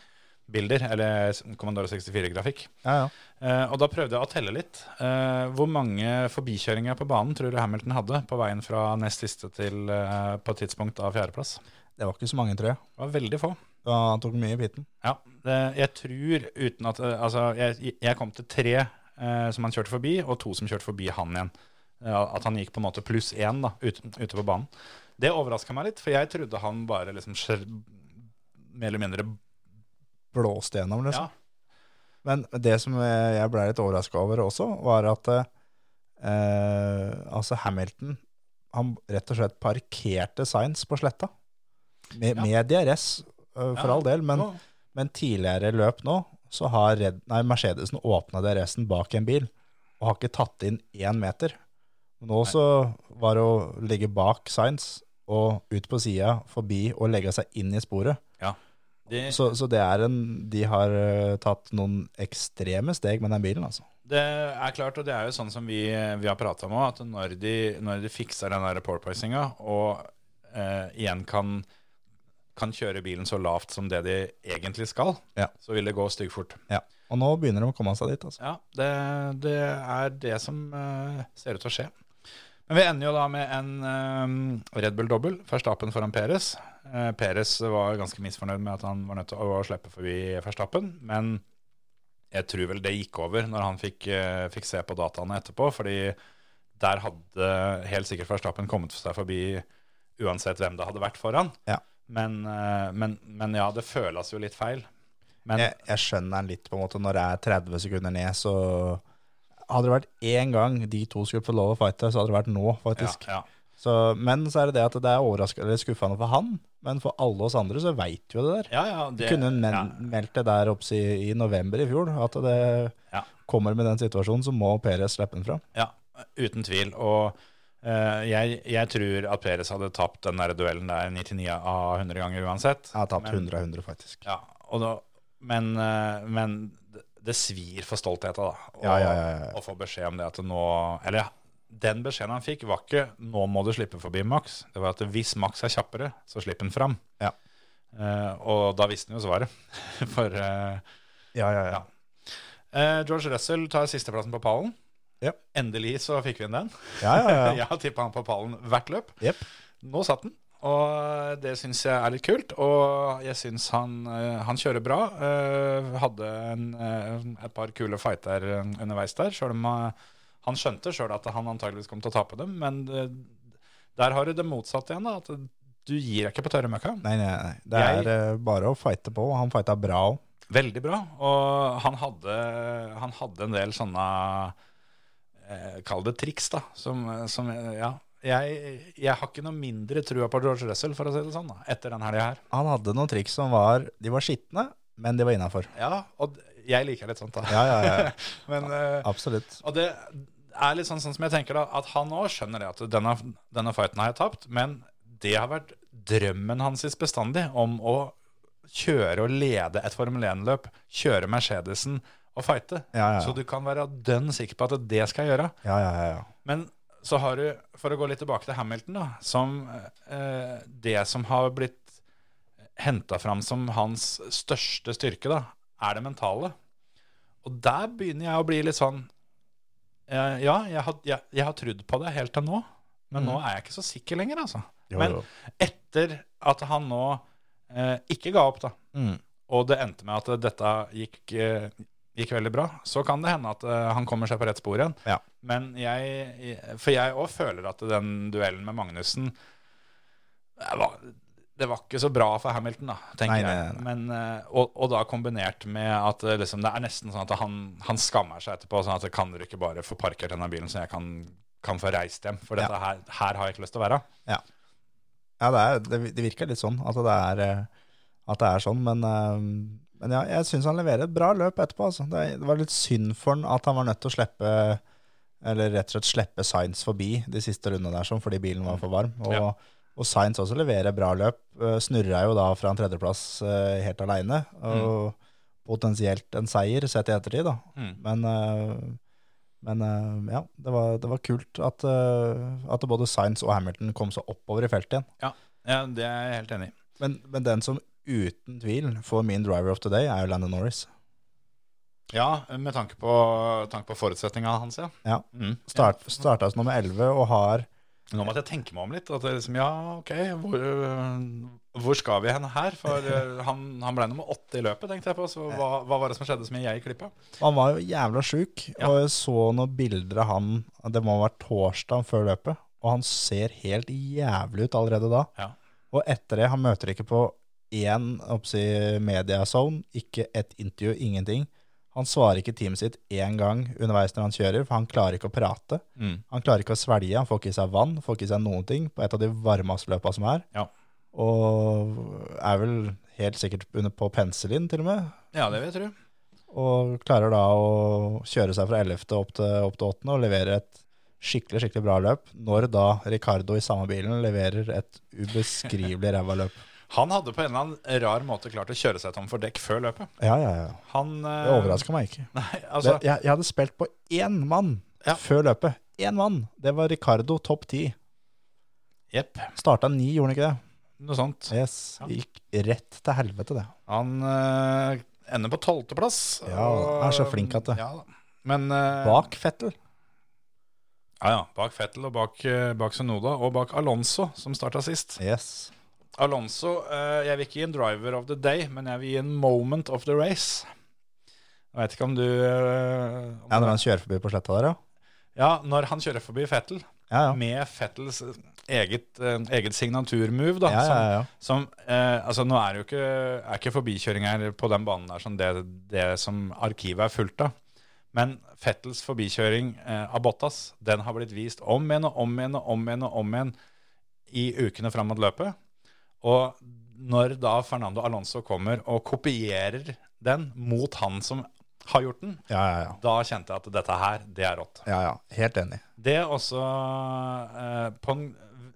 Speaker 4: bilder, eller Commodore 64-grafikk.
Speaker 5: Ja, ja.
Speaker 4: Eh, og da prøvde jeg å telle litt. Eh, hvor mange forbikjøringer på banen tror du Hamilton hadde på veien fra nest siste til eh, på et tidspunkt av fjerdeplass?
Speaker 5: Det var ikke så mange, tror jeg.
Speaker 4: Det var veldig få.
Speaker 5: Ja, han tok mye i biten.
Speaker 4: Ja, det, jeg tror uten at eh, Altså, jeg, jeg kom til tre eh, som han kjørte forbi, og to som kjørte forbi han igjen. Eh, at han gikk på en måte pluss én da, ute, ute på banen. Det overraska meg litt, for jeg trodde han bare liksom skjer- mer eller mindre
Speaker 5: Blåste gjennom, liksom.
Speaker 4: Ja.
Speaker 5: Men det som eh, jeg ble litt overraska over også, var at eh, altså Hamilton han rett og slett parkerte Sainz på sletta. Med,
Speaker 4: Ja.
Speaker 5: med DRS, eh, for
Speaker 4: Ja.
Speaker 5: all del, men,
Speaker 4: Å,
Speaker 5: men tidligere løp nå så har Red, nei, Mercedesen åpna DRS-en bak en bil og har ikke tatt inn én meter. Nå så var det å ligge bak Sainz og ut på sida, forbi og legge seg inn i sporet.
Speaker 4: de,
Speaker 5: Så, så det er en De har eh, tatt noen ekstreme steg med den bilen, altså.
Speaker 4: det er klart, og det er jo sånn som vi, vi har prata om òg, at når de, når de fikser den der porpoisinga og eh, igjen kan, kan kjøre bilen så lavt som det de egentlig skal,
Speaker 5: Ja.
Speaker 4: så vil det gå styggfort.
Speaker 5: Ja. Og nå begynner de å komme seg dit, altså.
Speaker 4: Ja, det, det er det som eh, ser ut til å skje. Men vi ender jo da med en eh, Red Bull dobbel, Verstappen foran Peres. Uh, Peres var ganske misfornøyd med at han var nødt til å, å slippe forbi Verstappen, men jeg tror vel det gikk over når han fikk, eh, fikk se på dataene etterpå, fordi der hadde helt sikkert Verstappen kommet seg forbi uansett hvem det hadde vært foran.
Speaker 5: Ja.
Speaker 4: Men, eh, men, men ja, det føles jo litt feil. Men
Speaker 5: Jeg, jeg skjønner den litt, på en måte. Når det er 30 sekunder ned, så Hadde det vært én gang de to skulle få lov å fighte, så hadde det vært nå, faktisk.
Speaker 4: ja, ja.
Speaker 5: Så, men så er det det at det er overraskende eller skuffende for han, men for alle oss andre så veit jo det der.
Speaker 4: Ja, ja, det,
Speaker 5: Kunne men,
Speaker 4: ja.
Speaker 5: meldt det der opp si, i november i fjor, at det
Speaker 4: Ja.
Speaker 5: kommer med den situasjonen, så må Perez slippe den fram.
Speaker 4: Ja, uten tvil. Og eh, jeg, jeg tror at Peres hadde tapt den der duellen der 99 av 100 ganger uansett.
Speaker 5: Jeg har tapt
Speaker 4: Men-
Speaker 5: 100 av 100, faktisk.
Speaker 4: Ja, og da, men, eh, men det- det svir for stoltheten, da. Og,
Speaker 5: Ja, ja, ja, ja.
Speaker 4: Å få beskjed om det at nå Eller ja, den beskjeden han fikk, var ikke 'nå må du slippe forbi Max'. Det var at hvis Max er kjappere, så slipp han fram.
Speaker 5: Ja.
Speaker 4: Eh, og da visste han jo svaret. For eh,
Speaker 5: Ja, ja, ja.
Speaker 4: eh, George Russell tar sisteplassen på pallen.
Speaker 5: Ja.
Speaker 4: Endelig så fikk vi inn den.
Speaker 5: ja, ja, ja.
Speaker 4: Jeg har tippa han på pallen hvert løp.
Speaker 5: Jepp.
Speaker 4: Nå satt han, og det syns jeg er litt kult. Og jeg syns han, eh, han kjører bra. Eh, Hadde en, eh, et par kule fighter eh, underveis der, sjøl om eh, han skjønte sjøl at han antageligvis kom til å tape dem. Men det, der har du det motsatte igjen, da. At du gir deg ikke på tørre møkka.
Speaker 5: Nei, nei, nei. Det
Speaker 4: Jeg-
Speaker 5: er eh, bare å fighte på. og Han fighta bra òg.
Speaker 4: Veldig bra. Og han hadde, han hadde en del sånne eh, Kall det triks, da. Som, som ja. Jeg, jeg har ikke noe mindre trua på George Russell, for å si det sånn, da, etter den helga her.
Speaker 5: Han hadde noen triks som var De var skitne, men de var innafor.
Speaker 4: Ja, og d- jeg liker litt sånt, da.
Speaker 5: Ja, ja, ja.
Speaker 4: Men, eh,
Speaker 5: Absolutt.
Speaker 4: og det er litt sånn, sånn som jeg tenker, da, at han òg skjønner det at denne, denne fighten har jeg tapt, men det har vært drømmen hans bestandig om å kjøre og lede et Formel 1-løp, kjøre Mercedesen og fighte.
Speaker 5: Ja, ja, ja.
Speaker 4: Så du kan være dønn sikker på at det skal jeg gjøre.
Speaker 5: Ja, ja, ja. ja.
Speaker 4: Men så har du, for å gå litt tilbake til Hamilton, da, som eh, det som har blitt henta fram som hans største styrke, da, er det mentale. Og der begynner jeg å bli litt sånn eh, Ja, jeg har, jeg, jeg har trodd på det helt til nå, men nå er jeg ikke så sikker lenger, altså.
Speaker 5: Mm. Jo,
Speaker 4: men
Speaker 5: jo.
Speaker 4: etter at han nå eh, ikke ga opp, da,
Speaker 5: Mm.
Speaker 4: og det endte med at dette gikk, eh, gikk veldig bra, så kan det hende at eh, han kommer seg på rett spor igjen.
Speaker 5: Ja.
Speaker 4: Men jeg, jeg- for jeg òg føler at den duellen med Magnussen det var, det var ikke så bra for Hamilton, da, tenker
Speaker 5: Nei, nei,
Speaker 4: jeg. Men, eh, og, og da kombinert med at eh, liksom, det er nesten sånn at han, han skammer seg etterpå. Sånn at kan dere ikke bare få parkert denne bilen, så jeg kan, kan få reist hjem? For
Speaker 5: Ja.
Speaker 4: dette her, her har jeg ikke lyst til å være.
Speaker 5: ja det, er, det, det virker litt sånn at det er, eh, at det er sånn, men, eh, men ja, jeg syns han leverer et bra løp etterpå. Altså. Det, det var litt synd for han at han var nødt til å slippe Eller rett og slett slippe Sainz forbi de siste rundene der sånn, fordi bilen var for varm. Og,
Speaker 4: Ja.
Speaker 5: og Sainz også leverer bra løp. Eh, Snurra jo da fra en tredjeplass eh, helt aleine. Og potensielt en seier sett i ettertid, da.
Speaker 4: Mm.
Speaker 5: Men, eh, men eh, ja, det var, det var kult at, eh, at både Sainz og Hamilton kom seg oppover i feltet igjen.
Speaker 4: Ja, ja det er jeg helt enig i.
Speaker 5: Men, men den som uten tvil for min driver of the day er jo Landon Norris.
Speaker 4: Ja, med tanke på, tanke på forutsetninga hans, ja.
Speaker 5: Ja.
Speaker 4: Mm.
Speaker 5: Start, starta som nummer 11 og har
Speaker 4: Nå måtte jeg tenke meg om litt. At det er liksom, ja, ok, hvor, øh, hvor skal vi hen her? For øh, han, han ble nummer åtte i løpet, tenkte jeg på. Så hva, hva var det som skjedde som jeg klippa?
Speaker 5: Han var jo jævla sjuk,
Speaker 4: Ja.
Speaker 5: og jeg så noen bilder av han Det må ha vært torsdag før løpet, og han ser helt jævlig ut allerede da.
Speaker 4: Ja.
Speaker 5: Og etter det, han møter ikke på én oppsi, mediazone, ikke et intervju, ingenting. Han svarer ikke teamet sitt én gang underveis når han kjører, for han klarer ikke å prate.
Speaker 4: Mm.
Speaker 5: Han klarer ikke å svelge, han får ikke i seg vann, får ikke i seg noen ting på et av de varmeste løpa som er.
Speaker 4: Ja.
Speaker 5: Og er vel helt sikkert under på penicillin, til og med.
Speaker 4: Ja, det vil jeg tro.
Speaker 5: Og klarer da å kjøre seg fra 11. opp til, opp til 8. og leverer et skikkelig, skikkelig bra løp. Når da Ricardo i samme bilen leverer et ubeskrivelig ræva løp.
Speaker 4: Han hadde på en eller annen rar måte klart å kjøre seg tom for dekk før løpet.
Speaker 5: Ja, ja, ja.
Speaker 4: Han øh,
Speaker 5: Det overraska meg ikke.
Speaker 4: Nei,
Speaker 5: Det,
Speaker 4: altså,
Speaker 5: jeg, jeg hadde spilt på én mann
Speaker 4: Ja.
Speaker 5: før løpet. Én mann. Det var Ricardo topp ti.
Speaker 4: jepp.
Speaker 5: Starta ni, gjorde han ikke det?
Speaker 4: Noe sånt.
Speaker 5: Yes.
Speaker 4: Ja.
Speaker 5: Gikk rett til helvete, det.
Speaker 4: Han øh, ender på tolvteplass.
Speaker 5: Ja, han er så flink at det-
Speaker 4: Ja, da. men øh,
Speaker 5: Bak Fettel.
Speaker 4: Ja, ja. Bak Fettel og bak, øh, bak Sonoda og bak Alonso, som starta sist.
Speaker 5: Yes.
Speaker 4: Alonso, eh, jeg vil ikke gi en driver of the day, men jeg vil gi en moment of the race. Jeg vet ikke om du eh, om
Speaker 5: Ja,
Speaker 4: du-
Speaker 5: når han kjører forbi på sletta der, ja.
Speaker 4: ja, når han kjører forbi Fettel,
Speaker 5: Ja, ja.
Speaker 4: med Fettels eget, eh, eget signaturmove, da.
Speaker 5: ja, ja, ja, ja.
Speaker 4: Som, som eh, Altså, nå er jo ikke, er ikke forbikjøring her på den banen der som det, det som arkivet er fullt av. Men Fettels forbikjøring eh, av Bottas, den har blitt vist om igjen og om igjen og om igjen og om igjen i ukene fram mot løpet. Og når da Fernando Alonso kommer og kopierer den mot han som har gjort den,
Speaker 5: ja, ja, ja.
Speaker 4: da kjente jeg at dette her, det er rått.
Speaker 5: ja, ja. Helt enig.
Speaker 4: Det er også eh, På en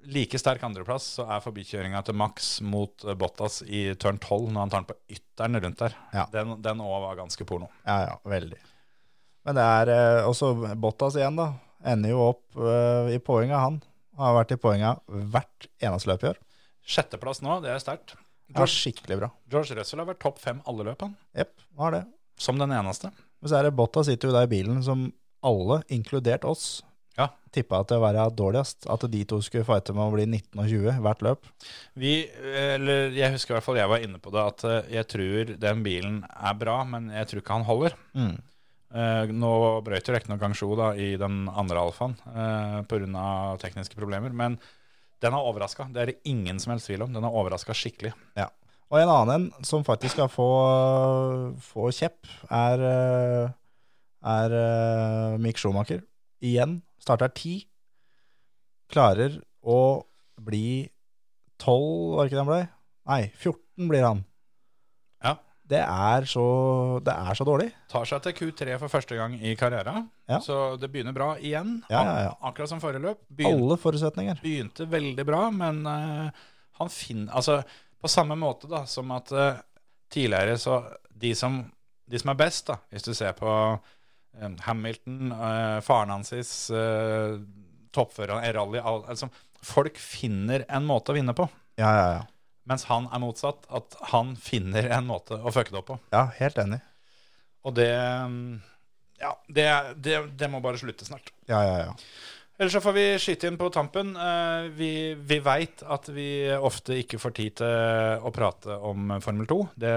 Speaker 4: like sterk andreplass så er forbikjøringa til Max mot eh, Bottas i tørn 12 når han tar den på ytteren rundt der.
Speaker 5: Ja.
Speaker 4: Den- Den òg var ganske porno.
Speaker 5: Ja, ja, veldig. Men det er eh, også Bottas igjen, da. Ender jo opp eh, i poenga, han. Han har vært i poenga hvert eneste løp i år.
Speaker 4: Sjetteplass nå, det er sterkt.
Speaker 5: Det var skikkelig bra.
Speaker 4: George Russell har vært topp fem alle løp, han.
Speaker 5: Jepp, han har det.
Speaker 4: Som den eneste.
Speaker 5: Men så er det Bottas sitter jo der i bilen som alle, inkludert oss,
Speaker 4: Ja.
Speaker 5: tippa til å være dårligst. At de to skulle fighte med å bli 19 og 20 hvert løp.
Speaker 4: Vi, eller jeg husker i hvert fall jeg var inne på det, at eh, jeg tror den bilen er bra, men jeg tror ikke han holder.
Speaker 5: Mm.
Speaker 4: Eh, nå brøt jo riktignok Gangsjo da, i den andre alfaen eh, pga. tekniske problemer, men den har overraska. Det er det ingen som helst tvil om. Den har overraska skikkelig.
Speaker 5: Ja. Og en annen en som faktisk skal få, få kjepp, er, eh, er eh, Mick Schumacher. Igjen. Starter ti. Klarer å bli tolv, var det ikke det han ble? Nei, 14 blir han.
Speaker 4: Ja.
Speaker 5: Det er så, det er så dårlig.
Speaker 4: Tar seg til Q3 for første gang i karrieren,
Speaker 5: Ja.
Speaker 4: så det begynner bra igjen.
Speaker 5: Ja, ja, ja.
Speaker 4: Ak- Akkurat som forrige løp. Begyn
Speaker 5: Alle forutsetninger.
Speaker 4: begynte veldig bra, men eh, han finner Altså, på samme måte da, som at eh, tidligere så de som, de som er best, da, hvis du ser på eh, Hamilton, eh, faren hans, uh, toppføreren i rally al- altså, Folk finner en måte å vinne på,
Speaker 5: Ja, ja, ja.
Speaker 4: mens han er motsatt. At han finner en måte å fucke det opp på.
Speaker 5: Ja, helt enig.
Speaker 4: Og det mm, Ja, det, det, det må bare slutte snart.
Speaker 5: Ja, ja, ja.
Speaker 4: Ellers så får vi skyte inn på tampen. Eh, Vi, vi veit at vi ofte ikke får tid til eh, å prate om Formel 2. Det,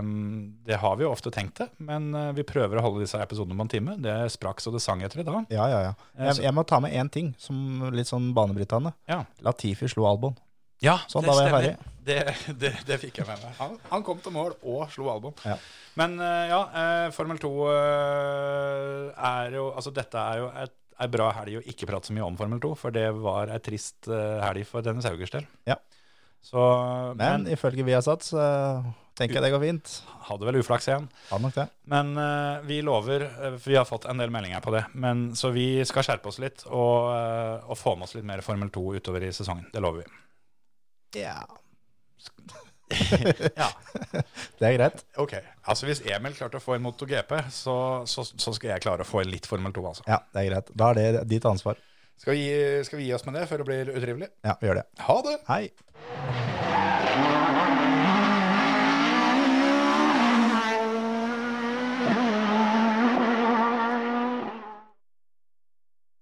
Speaker 4: mm, det har vi jo ofte tenkt det, men eh, vi prøver å holde disse episodene på en time. Det sprakk så det sang etter i dag.
Speaker 5: Ja, ja, ja. Jeg, jeg må ta med én ting, som litt sånn banebrytende.
Speaker 4: Ja.
Speaker 5: Latifi slo Albon.
Speaker 4: Ja,
Speaker 5: Sånn,
Speaker 4: det
Speaker 5: da var jeg
Speaker 4: stemmer. Det, det, det fikk jeg med meg. Han, han kom til mål og slo album.
Speaker 5: Ja.
Speaker 4: Men eh, ja, eh, Formel 2 eh, er jo Altså, dette er jo et, ei bra helg å ikke prate så mye om Formel 2, for det var ei trist eh, helg for Dennis Haugers del.
Speaker 5: Ja.
Speaker 4: Så,
Speaker 5: Men
Speaker 4: men,
Speaker 5: ifølge Viasat så tenker jeg det går fint.
Speaker 4: hadde vel uflaks igjen.
Speaker 5: Hadde nok det.
Speaker 4: Men eh, vi lover, eh, for vi har fått en del meldinger på det, men, så vi skal skjerpe oss litt og, eh, og få med oss litt mer Formel 2 utover i sesongen. Det lover vi.
Speaker 5: Ja.
Speaker 4: Ja.
Speaker 5: Det er greit.
Speaker 4: Ok, altså Hvis Emil klarte å få en MotoGP, så, så, så skal jeg klare å få en litt Formel 2. altså.
Speaker 5: Ja, det er greit. Da er det ditt ansvar.
Speaker 4: Skal vi, skal vi gi oss med det før det blir utrivelig?
Speaker 5: Ja, vi gjør det.
Speaker 4: Ha det!
Speaker 5: Hei.